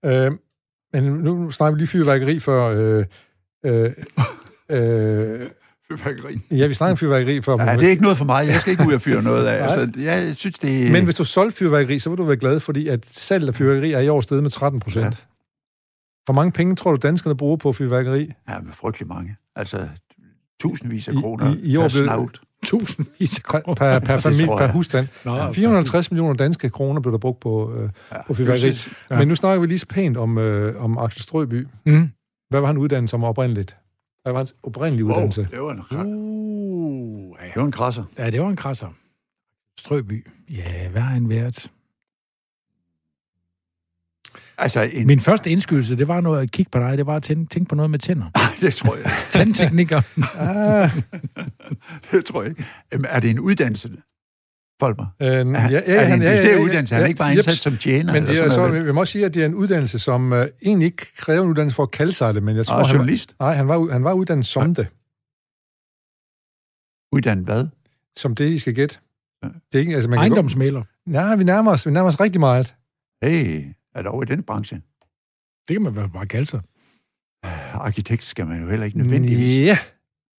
Ja. Øh, men nu snakker vi lige fyrværkeri før... Øh, øh, øh, ja, vi snakker om fyrværkeri før.
Ja, det er ikke noget for mig. Jeg skal ikke ud og fyre noget af. Altså, jeg synes, det
Men hvis du solgte fyrværkeri, så ville du være glad, fordi at salget af fyrværkeri er i år steget med 13 procent. Ja.
Ja.
Hvor mange penge tror du, danskerne bruger på fyrværkeri?
Ja, men frygtelig mange. Altså, tusindvis af
I-
kroner.
i- i år
per
blev-
snavt.
Tusindvis af
Per,
kroner.
per, per familie,
tror
per
jeg.
husstand.
Nå, okay.
450 millioner danske kroner blev der brugt på, øh,
Ja,
på fyrværkeri.
præcis.
Ja. Men nu snakker vi lige så pænt om, øh, om Axel Strøby.
Mm.
Hvad var han uddannet som oprindeligt? Hvad var hans oprindelige
Wow,
uddannelse?
det var en, ret-
Uh,
det var en krasser.
ja, det var en krasser. Strøby. Ja, hvad har han været?
Altså, en,
Min første indskydelse, det var noget at kigge på dig, det var at tænke, tænke på noget med tænder.
det tror jeg.
Tandteknikker.
det tror jeg ikke. Jamen, er det en uddannelse? Folk mig.
Øh, ja,
Ja, ja, ja, er det en ja, ja, uddannelse? Han er ikke bare
Jeps.
ansat som tjener?
Men det
eller
er så,
sådan noget.
vi må også sige, at det er en uddannelse, som øh, egentlig ikke kræver en uddannelse for at kalde sig det, men jeg tror,
Og
han var,
journalist.
nej, han var, u- han var uddannet som det.
Uddannet hvad?
som det, I skal gætte.
Ja.
Det er ikke, altså, man kan gå...
Ejendomsmæler.
Nej, vi nærmer os, vi nærmer os rigtig meget.
Hey, er der over i den branche?
Det kan man vel bare kalde sig.
Arkitekt skal man jo heller ikke nødvendigvis.
Ja,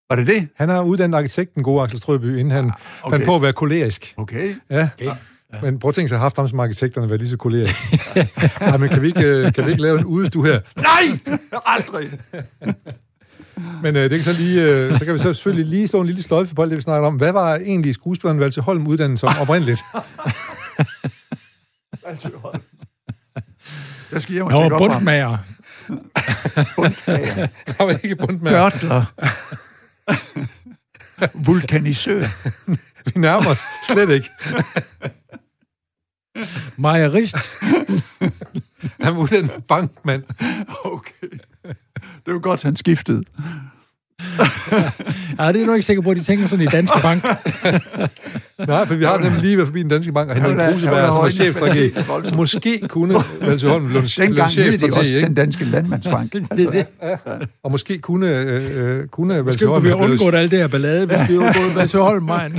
Var det det?
han har uddannet arkitekten, gode Axel Strøby, inden han
Ah,
okay. fandt på at være kolerisk.
Okay.
Ja.
Okay.
Ja. Men prøv at tænke sig, har haft ham som arkitekterne været lige så kolerisk. Nej, men kan vi ikke, øh, kan vi ikke lave en udestue her?
Nej! Aldrig!
Men øh, det kan så lige, øh, så kan vi så selvfølgelig lige slå en lille sløjfe på alt det, vi snakker om. Hvad var egentlig skuespilleren Valse Holm uddannet som oprindeligt?
Jeg skal hjem og
Nå,
tjekke op på ham.
bundmager.
Bundmager.
Han var ikke bundt med.
Gørtler. Vulkanisør.
Vi nærmer os slet ikke.
Mejerist.
Han var uddannet bankmand.
Okay. Det var godt, han skiftede.
Ja, det er du ikke sikker på, at de tænker sådan i Danske Bank.
Nej, for vi har nemlig lige været forbi den danske bank, og Henrik
Jamen, der- der
Kruseberg,
var
som er
højden.
chefstrateg. Måske kunne Valse Holm blive blive
Dengang hed det
chefstrateg,
også den
ikke?
danske landmandsbank. Altså, det,
Og måske kunne, øh, øh, kunne Valse
Skal
Holm
vi have
have blevet-
undgået alt det her ballade, hvis vi undgået Valse Holm, mand?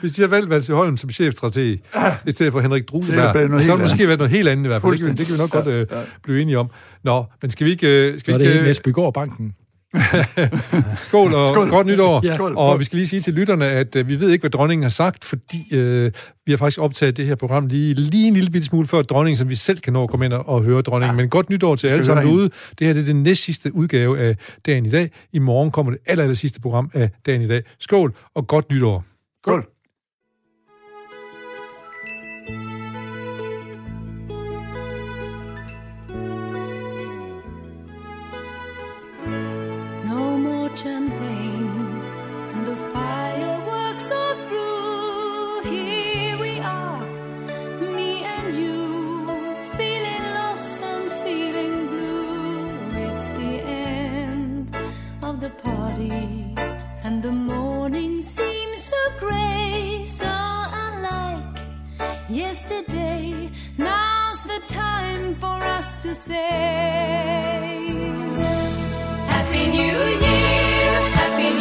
Hvis de havde valgt Valse Holm som chefstrateg, i stedet for Henrik
Ah. Det er
Drusenberg,
blevet noget
så havde
helt
det måske været noget helt andet i hvert fald. Det kan vi, det kan vi nok godt øh, blive enige om. Nå, men skal vi ikke... Øh,
Så er
skal vi
det
ikke
hele
øh,
Næsbygård Banken.
skål og
Skål.
godt nytår.
Ja.
Skål.
Og vi skal lige sige til lytterne, at øh, vi ved ikke, hvad dronningen har sagt, fordi øh, vi har faktisk optaget det her program lige, lige en lille bitte smule før dronningen, som vi selv kan nå at komme ind og, og høre dronningen. Men godt nytår til alle
høre
sammen
hende.
derude. Det her det er den næst sidste udgave af Dagen i dag. I morgen kommer det aller, aller sidste program af Dagen i dag. Skål og godt nytår.
Skål.
No more champagne, and the fireworks are through. Here we are, and the morning seems so gray, so unlike yesterday. Now's the time for us to say Happy New Year, Happy New